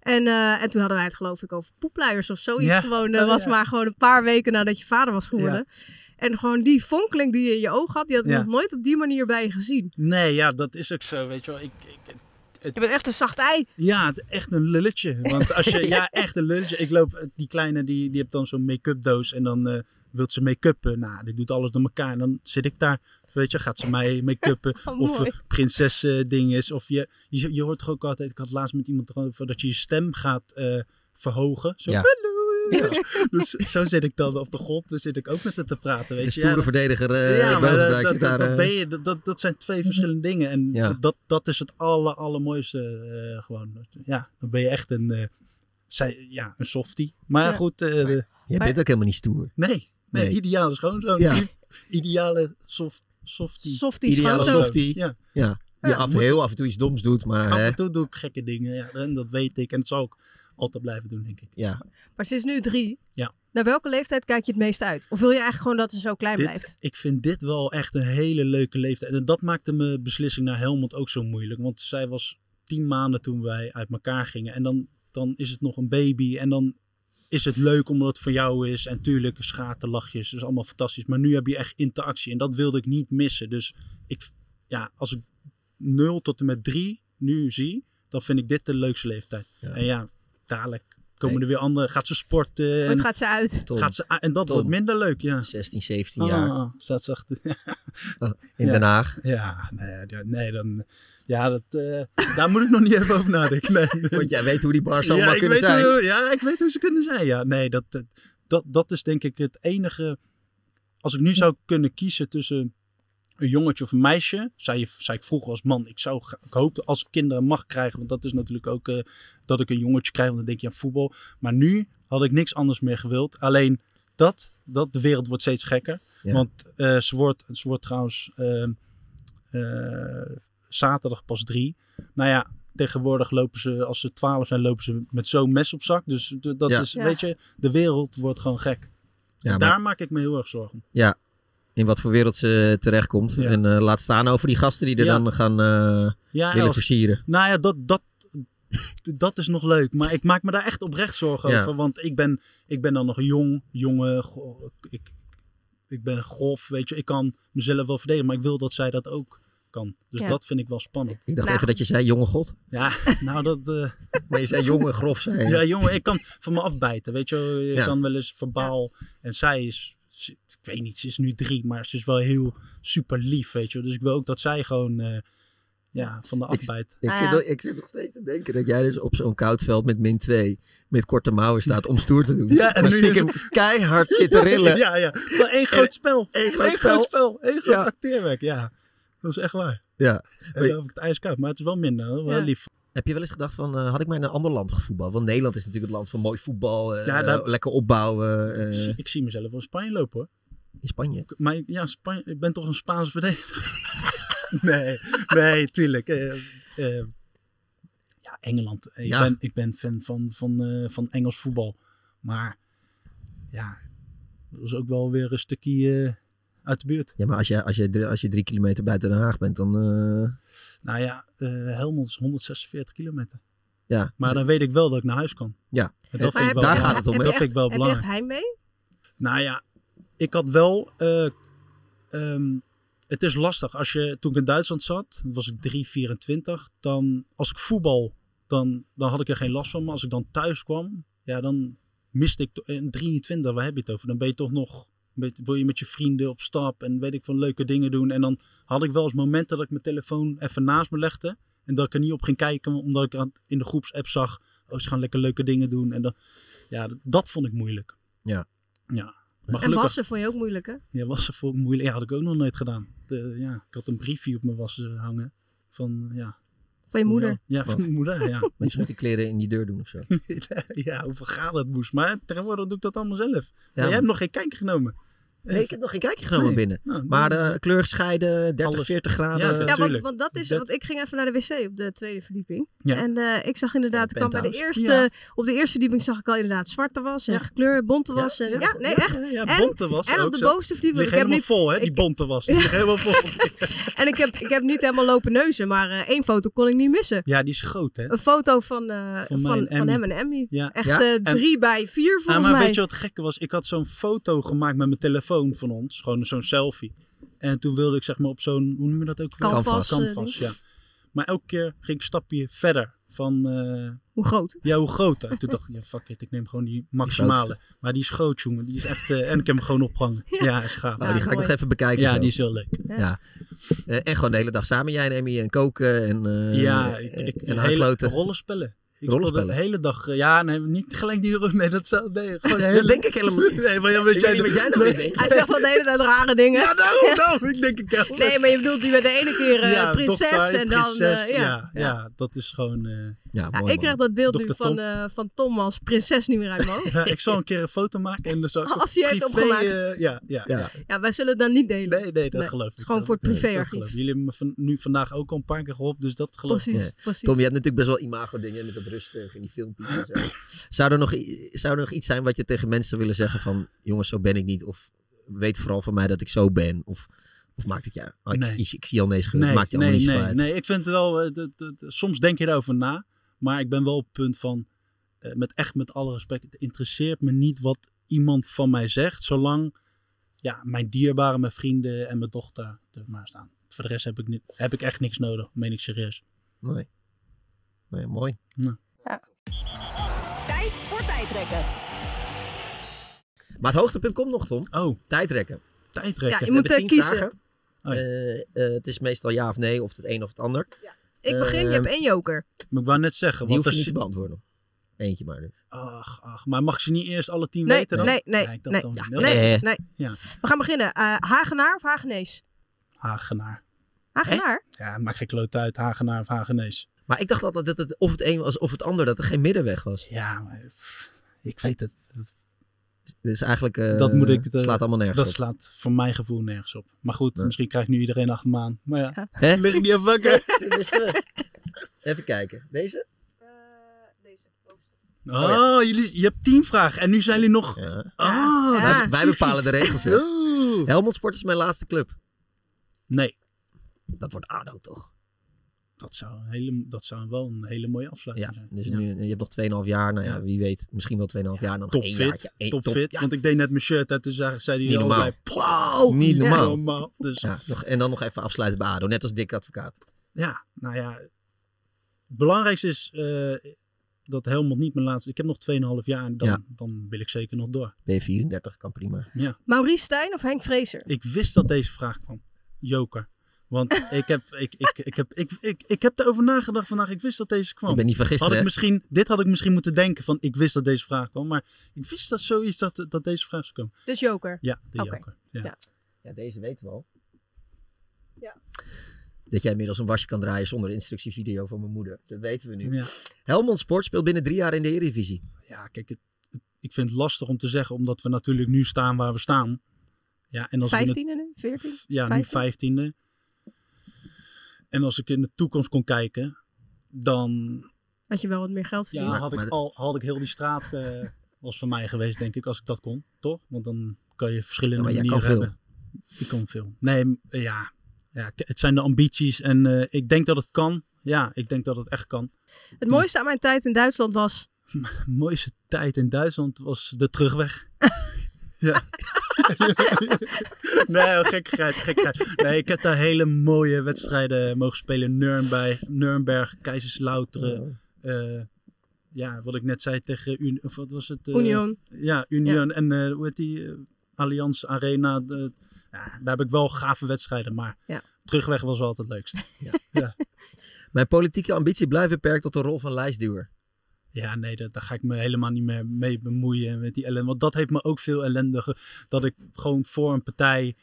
Speaker 4: En, eh, en toen hadden wij het geloof ik over poepluiers of zoiets.
Speaker 15: Ja.
Speaker 4: Gewoon, dat
Speaker 15: Oh,
Speaker 4: was
Speaker 15: ja.
Speaker 4: maar gewoon een paar weken nadat je vader was geworden. En gewoon die fonkeling die je in je oog had, die had ik
Speaker 6: Ja.
Speaker 4: nog nooit op die manier bij je gezien.
Speaker 6: Nee, ja, dat is ook zo, weet je wel. Ik, ik,
Speaker 4: Je bent echt een zacht ei.
Speaker 6: Ja, het- echt een lulletje. Want als je, ja, echt een lulletje. Ik loop, eh, die kleine, die, die heeft dan zo'n make-up doos en dan eh wil ze make-uppen. Nou, die doet alles door elkaar. En dan zit ik daar, weet je, gaat ze mij make-uppen.
Speaker 15: Oh,
Speaker 6: of
Speaker 15: mooi.
Speaker 6: eh, prinses eh, ding is. Of je, je, je hoort toch ook altijd, ik had laatst met iemand erover, dat je je stem gaat eh, verhogen. Zo,
Speaker 5: Ja.
Speaker 6: hallo. Dus zo zit ik dan op de grond, dan zit ik ook met haar te praten. Weet
Speaker 5: De
Speaker 6: je.
Speaker 5: stoere verdediger, eh,
Speaker 6: ja, maar
Speaker 5: Beugelsdijk
Speaker 6: dat, dat,
Speaker 5: zit daar,
Speaker 6: dat
Speaker 5: eh.
Speaker 6: ben je, dat, dat, dat zijn twee verschillende dingen. En
Speaker 5: Ja.
Speaker 6: dat, dat is het aller, allermooiste eh, gewoon. Ja, dan ben je echt een, eh, zij, ja, een softie. Maar
Speaker 5: Ja.
Speaker 6: goed. eh, de-
Speaker 5: Jij bent ook helemaal niet stoer.
Speaker 6: Nee, nee,
Speaker 5: Nee.
Speaker 6: ideale schoonzoon.
Speaker 5: Ja.
Speaker 6: I- Ideale soft, softie.
Speaker 4: Softie
Speaker 5: Ideale softie.
Speaker 6: Ja.
Speaker 5: Ja. Die
Speaker 6: Ja,
Speaker 5: af,
Speaker 6: moet-
Speaker 5: heel af en toe iets doms doet, maar...
Speaker 6: Af
Speaker 5: hè,
Speaker 6: en toe doe ik gekke dingen. Ja, en dat weet ik. En dat zal ik altijd blijven doen, denk ik.
Speaker 5: ja.
Speaker 4: Maar ze is nu drie.
Speaker 6: Ja.
Speaker 4: Naar welke leeftijd kijk je het meest uit? Of wil je eigenlijk gewoon dat ze zo klein
Speaker 6: Dit-
Speaker 4: blijft?
Speaker 6: Ik vind dit wel echt een hele leuke leeftijd. En dat maakte mijn beslissing naar Helmond ook zo moeilijk. Want zij was tien maanden toen wij uit elkaar gingen. En dan, dan is het nog een baby. En dan is het leuk omdat het voor jou is. En tuurlijk, schaten, lachjes. Dat is allemaal fantastisch. Maar nu heb je echt interactie. En dat wilde ik niet missen. Dus ik, ja, als ik 0 tot en met 3 nu zie, dan vind ik dit de leukste leeftijd. En ja, dadelijk komen er weer andere. Gaat ze sporten?
Speaker 4: Wat
Speaker 6: en-
Speaker 4: gaat ze uit?
Speaker 5: Tom.
Speaker 6: Gaat ze, en dat
Speaker 5: Tom.
Speaker 6: wordt minder leuk, ja.
Speaker 5: 16, 17 jaar. eh,
Speaker 6: Staat zacht.
Speaker 5: in Den Haag.
Speaker 6: Ja, nee, ja, nee dan, ja dat, eh, daar moet ik nog niet even over nadenken. Nee.
Speaker 5: Want jij weet hoe die bars allemaal
Speaker 6: ik
Speaker 5: kunnen
Speaker 6: weet
Speaker 5: zijn.
Speaker 6: hoe- ja, ik weet hoe ze kunnen zijn. Ja, nee, dat, dat, dat, dat is denk ik het enige. Als ik nu zou kunnen kiezen tussen een jongetje of een meisje, zei, je, zei ik vroeger als man, ik zou, gra- ik hoopte als ik kinderen mag krijgen, want dat is natuurlijk ook eh, dat ik een jongetje krijg, want dan denk je aan voetbal. Maar nu had ik niks anders meer gewild. Alleen dat, dat de wereld wordt steeds gekker.
Speaker 5: Ja.
Speaker 6: Want eh, ze, wordt, ze wordt trouwens ehm, eh, zaterdag pas drie. Nou ja, tegenwoordig lopen ze, als ze twaalf zijn, lopen ze met zo'n mes op zak. Dus d- dat
Speaker 5: Ja.
Speaker 6: is,
Speaker 5: Ja.
Speaker 6: weet je, de wereld wordt gewoon gek.
Speaker 5: Ja,
Speaker 6: Daar
Speaker 5: maar-
Speaker 6: maak ik me heel erg zorgen.
Speaker 5: Ja. in wat voor wereld ze terechtkomt.
Speaker 6: Ja.
Speaker 5: En eh, laat staan over die gasten die er
Speaker 6: Ja.
Speaker 5: dan gaan eh,
Speaker 6: Ja,
Speaker 5: willen
Speaker 6: als-
Speaker 5: versieren.
Speaker 6: Nou ja, dat, dat, dat is nog leuk. Maar ik maak me daar echt oprecht zorgen
Speaker 5: Ja.
Speaker 6: over. Want ik ben, ik ben dan nog jong, jonge. go- Ik, ik ben grof, weet je. Ik kan mezelf wel verdedigen, maar ik wil dat zij dat ook kan. Dus
Speaker 5: Ja.
Speaker 6: dat vind ik wel spannend.
Speaker 5: Ik dacht even dat je zei jonge god.
Speaker 6: Ja, nou dat... eh,
Speaker 5: Maar je zei jongen, grof zei je.
Speaker 6: Ja, jongen, ik kan van me afbijten, weet je. wel. Je
Speaker 5: Ja.
Speaker 6: kan wel eens verbaal... En zij is, ze- ik weet niet, ze is nu drie, maar ze is wel heel super lief, weet je. wel. Dus ik wil ook dat zij gewoon eh, ja, van de afbijt.
Speaker 5: Ik, zit, nog- ik zit nog steeds te denken dat jij dus op zo'n koud veld met min 2 met korte mouwen staat om stoer te doen.
Speaker 6: Ja, en
Speaker 5: maar
Speaker 6: nu
Speaker 5: stiekem
Speaker 6: is het-
Speaker 5: keihard zit te rillen.
Speaker 6: Ja, ja. Maar één groot spel.
Speaker 5: Eén groot
Speaker 6: Eén
Speaker 5: spel.
Speaker 6: groot spel. Eén groot
Speaker 5: Ja.
Speaker 6: acteerwerk, ja. Dat is echt waar.
Speaker 5: Ja.
Speaker 6: En dan heb ik het ijskoud, maar het is wel minder. hoor. Wel
Speaker 5: Ja.
Speaker 6: lief.
Speaker 5: Heb je wel eens gedacht van, eh, had ik maar in een ander land gevoetbald? Want Nederland is natuurlijk het land van mooi voetbal, eh,
Speaker 6: Ja, daar-
Speaker 5: lekker opbouwen. eh.
Speaker 6: Ik zie mezelf wel in Spanje lopen hoor.
Speaker 5: In Spanje?
Speaker 6: Maar ik- ja, Spanje, ik ben toch een Spaanse verdediger? nee, nee, tuurlijk. Eh, eh, ja, Engeland. Ik,
Speaker 5: Ja.
Speaker 6: Ben, ik ben fan van, van, eh, van Engels voetbal. Maar ja, dat is ook wel weer een stukje eh, uit de buurt.
Speaker 5: Ja, maar als je, als, je, drie- als je drie kilometer buiten Den Haag bent, dan... eh,
Speaker 6: Nou ja, eh Helmond is 146 kilometer.
Speaker 5: ja. Dus
Speaker 6: Maar dan weet ik wel dat ik naar huis kan.
Speaker 5: Ja.
Speaker 6: En dat
Speaker 5: Maar
Speaker 6: vind ik
Speaker 5: heb
Speaker 6: wel
Speaker 5: je- Daar
Speaker 6: belangrijk.
Speaker 5: gaat het om, hè?
Speaker 6: Dat
Speaker 5: Heb je
Speaker 6: vind ik wel
Speaker 4: Heb je echt
Speaker 6: belangrijk.
Speaker 4: heimwee?
Speaker 6: Nou ja, ik had wel. eh, ehm, het is lastig. Als je, toen ik in Duitsland zat, was ik 3,24. Dan, als ik voetbal, dan, dan had ik er geen last van. Maar als ik dan thuis kwam, ja, dan miste ik. to- En 23, waar heb je het over? Dan ben je toch nog. met- Wil je met je vrienden op stap en weet ik van leuke dingen doen. En dan had ik wel eens momenten dat ik mijn telefoon even naast me legde. En dat ik er niet op ging kijken, omdat ik aan- in de groepsapp zag. Oh, ze gaan lekker leuke dingen doen. En dan, ja, dat- dat vond ik moeilijk.
Speaker 5: Ja.
Speaker 6: Ja. Maar
Speaker 4: en
Speaker 6: gelukkig,
Speaker 4: wassen vond je ook moeilijk, hè?
Speaker 6: Ja, wassen vond ik moeilijk. Ja, had ik ook nog nooit gedaan. De, ja, ik had een briefje op mijn wassen hangen. Van, eh, ja.
Speaker 4: Van je moeder.
Speaker 6: Ja, van
Speaker 5: Wat?
Speaker 6: mijn moeder, ja.
Speaker 5: Maar je moet die kleren in die deur doen of zo.
Speaker 6: ja, hoeveel gaat het moest. Maar tegenwoordig doe ik dat allemaal zelf. maar jij
Speaker 5: maar-
Speaker 6: hebt nog geen kijkje genomen.
Speaker 5: Nee, ik heb nog geen kijkje genomen
Speaker 6: Nee.
Speaker 5: binnen.
Speaker 6: Nou,
Speaker 5: maar
Speaker 6: dan is
Speaker 5: eh,
Speaker 6: het-
Speaker 5: kleur scheiden, 30,
Speaker 6: Alles.
Speaker 5: 40 graden. Nou,
Speaker 6: Ja,
Speaker 4: Ja, want,
Speaker 6: Tuurlijk.
Speaker 4: want dat is,
Speaker 6: Dat-
Speaker 4: want ik ging even naar de wc op de tweede verdieping.
Speaker 6: Ja.
Speaker 4: En eh, ik zag inderdaad, ik
Speaker 5: Van
Speaker 4: kwam
Speaker 5: het
Speaker 4: bij de
Speaker 5: penthouse.
Speaker 4: eerste, op de eerste verdieping zag ik al inderdaad zwarte was en
Speaker 6: Ja.
Speaker 4: gekleurd, bonte was. en,
Speaker 6: ja,
Speaker 4: ja, nee,
Speaker 6: ja,
Speaker 4: echt.
Speaker 6: ja, ja,
Speaker 4: en,
Speaker 6: bonte was
Speaker 4: En
Speaker 6: ook
Speaker 4: op de
Speaker 6: zo.
Speaker 4: bovenste verdieping. want
Speaker 6: Ligt
Speaker 4: Ik heb
Speaker 6: helemaal
Speaker 4: niet,
Speaker 6: vol, hè? Die bonte was. Die ligt helemaal vol.
Speaker 4: en ik heb, ik heb niet helemaal lopen neuzen, maar eh, één foto kon ik niet missen.
Speaker 6: Ja, die is groot, hè?
Speaker 4: Een foto van, eh,
Speaker 6: Van
Speaker 4: van,
Speaker 6: mij
Speaker 4: van,
Speaker 6: en Emmy.
Speaker 4: hem en Emmy.
Speaker 6: Ja.
Speaker 4: Oh, Echt
Speaker 6: Ja,
Speaker 4: eh,
Speaker 6: en-
Speaker 4: drie bij vier volgens
Speaker 6: Ah, maar
Speaker 4: mij.
Speaker 6: weet je wat het gekke was? Ik had zo'n foto gemaakt met mijn telefoon van ons. Gewoon zo'n selfie. En toen wilde ik zeg maar op zo'n, hoe noem je dat ook? weer?
Speaker 4: Canvas, eh,
Speaker 6: Canvas, ja.
Speaker 4: ding.
Speaker 6: Maar elke keer ging ik een stapje verder van... eh,
Speaker 4: Hoe groot?
Speaker 6: Ja, hoe groot. En toen dacht ik, ja, fuck it, ik neem gewoon die maximale.
Speaker 5: grootste.
Speaker 6: maar die is groot, jongen. Die is echt... eh, en ik heb hem gewoon opgehangen. Ja, is gaaf.
Speaker 5: Nou, die ga ik nog even bekijken.
Speaker 6: Ja,
Speaker 5: zo.
Speaker 6: die is heel leuk.
Speaker 5: Ja. Eh, en gewoon de hele dag samen, jij en Emmy, en koken en, eh
Speaker 6: ja, ik, ik,
Speaker 5: en
Speaker 6: hele,
Speaker 5: hardloten.
Speaker 6: rollenspellen. Ik
Speaker 5: Rollenspellen?
Speaker 6: speelde de hele dag. eh, Ja, nee, niet gelijk die rug. Nee, dat zou. Nee, gewoon
Speaker 5: Nee,
Speaker 6: de
Speaker 5: dat
Speaker 6: hele-
Speaker 5: denk ik helemaal niet.
Speaker 6: Nee, maar ja, weet
Speaker 5: Ik
Speaker 6: jij
Speaker 5: weet niet wat jij nou weer denkt.
Speaker 4: Hij zegt wel de hele tijd rare dingen.
Speaker 6: Ja, nou, daarom, daarom. Ik denk ik wel.
Speaker 4: Nee, maar je bedoelt die met de ene keer eh, prinses
Speaker 6: dokter,
Speaker 4: en dan...
Speaker 6: prinses,
Speaker 4: eh, ja.
Speaker 6: Ja, ja, dat is gewoon. eh,
Speaker 4: Ja, ik krijg dat beeld nu
Speaker 6: Dr.
Speaker 4: van,
Speaker 6: Tom.
Speaker 4: eh, van Tom als prinses niet meer uit mijn hoofd.
Speaker 6: Ja, ik zal een keer een foto maken en dan zou ik
Speaker 4: Als
Speaker 6: op
Speaker 4: je het
Speaker 6: privé,
Speaker 4: opgemaakt.
Speaker 6: eh, ja, ja,
Speaker 5: Ja.
Speaker 4: Ja, wij zullen het dan niet delen.
Speaker 6: Nee, nee, dat geloof ik.
Speaker 4: Gewoon
Speaker 6: wel.
Speaker 4: voor het
Speaker 6: Nee, dat geloof
Speaker 4: privéarchief.
Speaker 6: ik. Jullie hebben me van, nu vandaag ook al een paar keer geholpen, dus dat geloof ik.
Speaker 4: Precies.
Speaker 6: wel.
Speaker 5: Tom, je hebt natuurlijk best wel imago-dingen met dat rustig en die filmpjes en zo. Zou er, nog, i- zou er nog iets zijn wat je tegen mensen zou willen zeggen van... jongens, zo ben ik niet. Of weet vooral van mij dat ik zo ben. Of, of maakt het jou... oh, ik,
Speaker 6: Nee.
Speaker 5: ik, ik zie al nees
Speaker 6: Nee,
Speaker 5: nee, maakt je
Speaker 6: nee,
Speaker 5: allemaal niet
Speaker 6: nee,
Speaker 5: uit.
Speaker 6: nee, ik vind het wel, eh, dat- dat- soms denk je daarover na, maar ik ben wel op het punt van, eh, met echt met alle respect, het interesseert me niet wat iemand van mij zegt, zolang ja, mijn dierbaren, mijn vrienden en mijn dochter er maar staan. Voor de rest heb ik, ni- heb ik echt niks nodig, meen ik serieus.
Speaker 5: Nee. Nee, mooi.
Speaker 15: Tijd voor tijdrekken.
Speaker 5: Maar het hoogtepunt komt nog, Tom.
Speaker 6: Oh.
Speaker 5: Tijdrekken.
Speaker 6: Tijdrekken.
Speaker 4: Ja, je
Speaker 5: We
Speaker 4: moet,
Speaker 5: hebben
Speaker 4: eh,
Speaker 5: tien
Speaker 4: kiezen.
Speaker 5: vragen.
Speaker 6: Oh ja.
Speaker 5: Eh, eh, het is meestal ja of nee, of het een of het ander.
Speaker 4: Ik begin, je
Speaker 5: Eh,
Speaker 4: hebt één joker.
Speaker 6: Maar ik wou net zeggen,
Speaker 5: Die
Speaker 6: want
Speaker 5: hoef je
Speaker 6: er
Speaker 5: niet
Speaker 6: zit-
Speaker 5: te beantwoorden. Eentje maar. dus.
Speaker 6: Ach, ach, maar mag je niet eerst alle tien
Speaker 4: Nee,
Speaker 6: weten dan?
Speaker 4: nee, nee,
Speaker 6: Ja, ik dacht
Speaker 4: nee,
Speaker 6: dan wel.
Speaker 4: nee,
Speaker 5: Eh.
Speaker 4: nee.
Speaker 6: Ja,
Speaker 4: We gaan beginnen. Eh, Hagenaar of Hagenees?
Speaker 6: Hagenaar.
Speaker 4: Hagenaar?
Speaker 6: Ja, maakt geen kloot uit, Hagenaar of Hagenees.
Speaker 5: Maar ik dacht altijd dat het of het een was of het ander, dat er geen middenweg was.
Speaker 6: Ja, maar pff, ik weet het. Dat,
Speaker 5: Dus eigenlijk eh,
Speaker 6: dat moet ik...
Speaker 5: het slaat allemaal nergens
Speaker 6: dat
Speaker 5: op.
Speaker 6: slaat voor mijn gevoel nergens op. Maar goed,
Speaker 5: Nee.
Speaker 6: misschien krijgt nu iedereen achter me aan. Maar ja,
Speaker 5: Hè?
Speaker 6: lig ik niet op wakker.
Speaker 5: Dit is terug. Even kijken. Deze?
Speaker 6: Oh,
Speaker 5: Oh,
Speaker 6: jullie, je hebt tien vragen en nu zijn jullie nog... Ah,
Speaker 5: Wij- wij bepalen de regels, hè?
Speaker 6: Oh,
Speaker 5: Helmond Sport is mijn laatste club.
Speaker 6: Nee.
Speaker 5: Dat wordt ADO toch?
Speaker 6: Dat zou, een hele, dat zou wel een hele mooie afsluiting zijn.
Speaker 5: Dus nu, je hebt nog 2,5 jaar. Nou ja, wie weet. Misschien wel 2,5 jaar. Dan nog één
Speaker 6: Topfit,
Speaker 5: jaartje. Eén-
Speaker 6: topfit.
Speaker 5: ja,
Speaker 6: Want ik deed net mijn shirt uit, dus daar zei
Speaker 5: niet
Speaker 6: hij al
Speaker 5: normaal.
Speaker 6: bij. Pauw,
Speaker 4: Oh,
Speaker 5: niet
Speaker 6: ja.
Speaker 5: normaal.
Speaker 6: Dus.
Speaker 5: Ja, nog, en dan nog even afsluiten bij ADO. Net als Dick Advocaat.
Speaker 6: Ja, nou ja. Het belangrijkste is eh, dat Helmond niet mijn laatste... Ik heb nog 2,5 jaar en dan,
Speaker 5: Ja.
Speaker 6: dan wil ik zeker nog door.
Speaker 5: B34 kan prima.
Speaker 6: Ja.
Speaker 4: Maurice Stijn of Henk Vrezer?
Speaker 6: Ik wist dat deze vraag kwam. Joker. Want ik heb, ik, ik, ik, heb, ik, ik, ik heb erover nagedacht vandaag. Ik wist dat deze kwam.
Speaker 5: Ik ben niet vergist,
Speaker 6: Had ik
Speaker 5: hè?
Speaker 6: misschien, dit had ik misschien moeten denken van ik wist dat deze vraag kwam. Maar ik wist dat zoiets dat, dat deze vraag zou komen.
Speaker 4: Dus Joker.
Speaker 6: Ja, de
Speaker 4: Oké.
Speaker 6: Joker. Ja.
Speaker 5: Ja, deze weten we al.
Speaker 4: Ja.
Speaker 5: Dat jij inmiddels een wasje kan draaien zonder instructievideo van mijn moeder. Dat weten we nu.
Speaker 6: Ja.
Speaker 5: Helmond Sport speelt binnen drie jaar in de Eredivisie.
Speaker 6: Ja, kijk, het, het- ik vind het lastig om te zeggen omdat we natuurlijk nu staan waar we staan. Ja, en als we in het-
Speaker 4: 15e nu? 14?
Speaker 6: Ja, nu vijftiende. En als ik in de toekomst kon kijken, dan
Speaker 4: Had je wel wat meer geld verdiend?
Speaker 6: ja, had, ik al, had ik heel die straat eh was van mij geweest, denk ik, als ik dat kon, toch? Want dan kan je
Speaker 5: Ja,
Speaker 6: verschillende
Speaker 5: maar jij
Speaker 6: manieren
Speaker 5: kan veel.
Speaker 6: hebben. Ik kan veel. Nee, m- ja. ja, k- het zijn de ambities en eh, ik denk dat het kan. Ja, ik denk dat het echt kan.
Speaker 4: Het mooiste aan mijn tijd in Duitsland was...
Speaker 6: mooiste tijd in Duitsland was de terugweg. ja. nee, gekkigheid, gekkigheid. Nee, ik heb daar hele mooie wedstrijden mogen spelen. Nürnberg, Nürnberg Kaiserslauteren. eh, ja, wat ik net zei tegen... Un of wat was het? eh,
Speaker 4: Union.
Speaker 6: Ja, Union. En eh, hoe heet die? eh, Allianz Arena. de- ja, daar heb ik wel gave wedstrijden, maar
Speaker 4: Ja.
Speaker 6: terugweg was wel altijd het leukst.
Speaker 5: Mijn politieke ambitie blijft beperkt tot de rol van lijstduwer.
Speaker 6: Ja, nee, dat, daar ga ik me helemaal niet meer mee bemoeien met die ellende. Want dat heeft me ook veel ellende. ge- Dat ik gewoon voor een partij.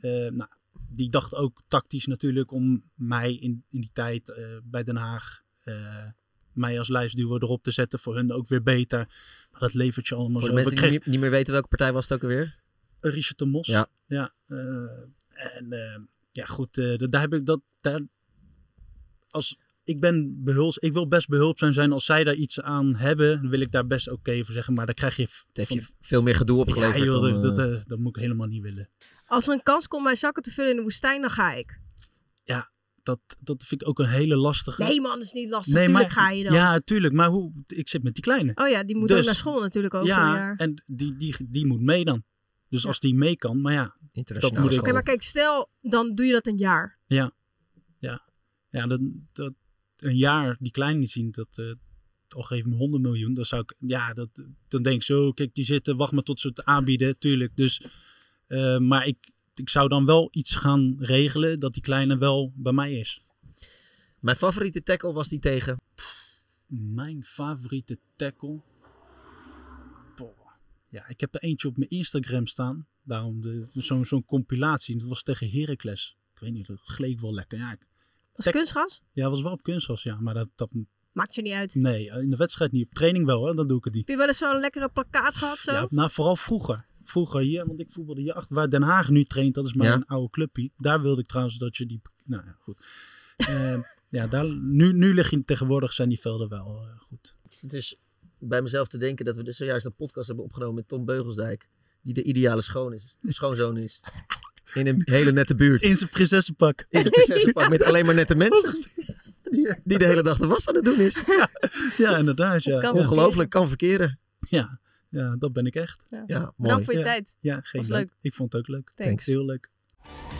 Speaker 6: eh, nou, die dacht ook tactisch natuurlijk om mij in, in die tijd eh, bij Den Haag. eh, mij als lijstduwer erop te zetten. Voor hun ook weer beter. Maar dat levert je allemaal
Speaker 5: Voor
Speaker 6: zo.
Speaker 5: de
Speaker 6: We
Speaker 5: mensen die
Speaker 6: kregen-
Speaker 5: niet, niet meer weten welke partij was het ook alweer.
Speaker 6: Richard de Mos.
Speaker 5: Ja.
Speaker 6: ja eh, en eh, ja, goed, eh, dat- daar heb ik dat. Daar, als, ik ben behuls, ik wil best behulpzaam zijn. Als zij daar iets aan hebben, dan wil ik daar best oké voor zeggen. Maar dan krijg je. Het
Speaker 5: heeft je veel meer gedoe opgeleverd
Speaker 6: Ja, joh,
Speaker 5: dan,
Speaker 6: dat, dat,
Speaker 5: eh,
Speaker 6: eh, dat moet ik helemaal niet willen.
Speaker 4: Als er een kans komt mijn zakken te vullen in de woestijn, dan ga ik.
Speaker 6: Ja, dat, dat vind ik ook een hele lastige.
Speaker 4: Nee man, dat is niet lastig. Tuurlijk ga je dan.
Speaker 6: Ja, tuurlijk. Maar hoe, ik zit met die kleine.
Speaker 4: Oh ja, die moet ook
Speaker 6: Dus-
Speaker 4: naar school natuurlijk over een
Speaker 6: Ja,
Speaker 4: jaar.
Speaker 6: en die, die, die moet mee dan. Dus als die mee kan, maar ja, dat moet
Speaker 4: Oké,
Speaker 6: ik.
Speaker 4: maar kijk, stel, dan doe je dat een jaar.
Speaker 6: Ja, ja. ja dat, dat, een jaar die klein niet zien, dat eh al geef me 100 miljoen, dan zou ik, ja, dat, dan denk ik zo, kijk, die zitten, wacht maar tot ze het aanbieden, tuurlijk. Dus, eh, maar ik, ik zou dan wel iets gaan regelen dat die kleine wel bij mij is.
Speaker 5: Mijn favoriete tackle was die tegen.
Speaker 6: Mijn favoriete tackle. Boah. Ja, ik heb er eentje op mijn Instagram staan. Daarom de- zo'n zo'n compilatie. Dat was tegen Heracles. Ik weet niet, dat gleed wel lekker. Ja, ik-
Speaker 4: Was
Speaker 6: Tek-
Speaker 4: kunstgas?
Speaker 6: Ja, was wel op kunstgras, ja. Maar dat, dat...
Speaker 4: Maakt je niet uit.
Speaker 6: Nee, eh, in de wedstrijd niet. Op training wel, hè. Dan doe ik het niet.
Speaker 4: Heb je wel eens zo'n lekkere plakkaat gehad zo?
Speaker 6: Ja, nou, vooral vroeger. Vroeger hier, want ik voetbalde hier achter. Waar Den Haag nu traint, dat is mijn
Speaker 5: Ja.
Speaker 6: oude clubje. Daar wilde ik trouwens dat je die... Nou ja, goed. Eh, ja, daar, nu, nu lig je tegenwoordig zijn die velden wel eh, goed.
Speaker 5: Ik zit dus bij mezelf te denken dat we dus zojuist een podcast hebben opgenomen met Tom Beugelsdijk. Die de ideale schoon is, schoonzoon is. In een hele nette buurt.
Speaker 6: In zijn prinsessenpak.
Speaker 5: In zijn prinsessenpak met alleen maar nette mensen. Die, die de hele dag de was aan het doen is. Ja,
Speaker 6: inderdaad. Ja.
Speaker 4: Kan
Speaker 5: Ongelooflijk, kan verkeren.
Speaker 6: Ja, ja dat ben ik echt.
Speaker 4: Ja.
Speaker 5: Ja, mooi.
Speaker 4: Bedankt voor je
Speaker 6: Ja.
Speaker 4: tijd.
Speaker 6: Ja, geen
Speaker 4: Was
Speaker 6: dank.
Speaker 4: leuk.
Speaker 6: Ik vond het ook leuk.
Speaker 4: Thanks.
Speaker 6: Heel leuk.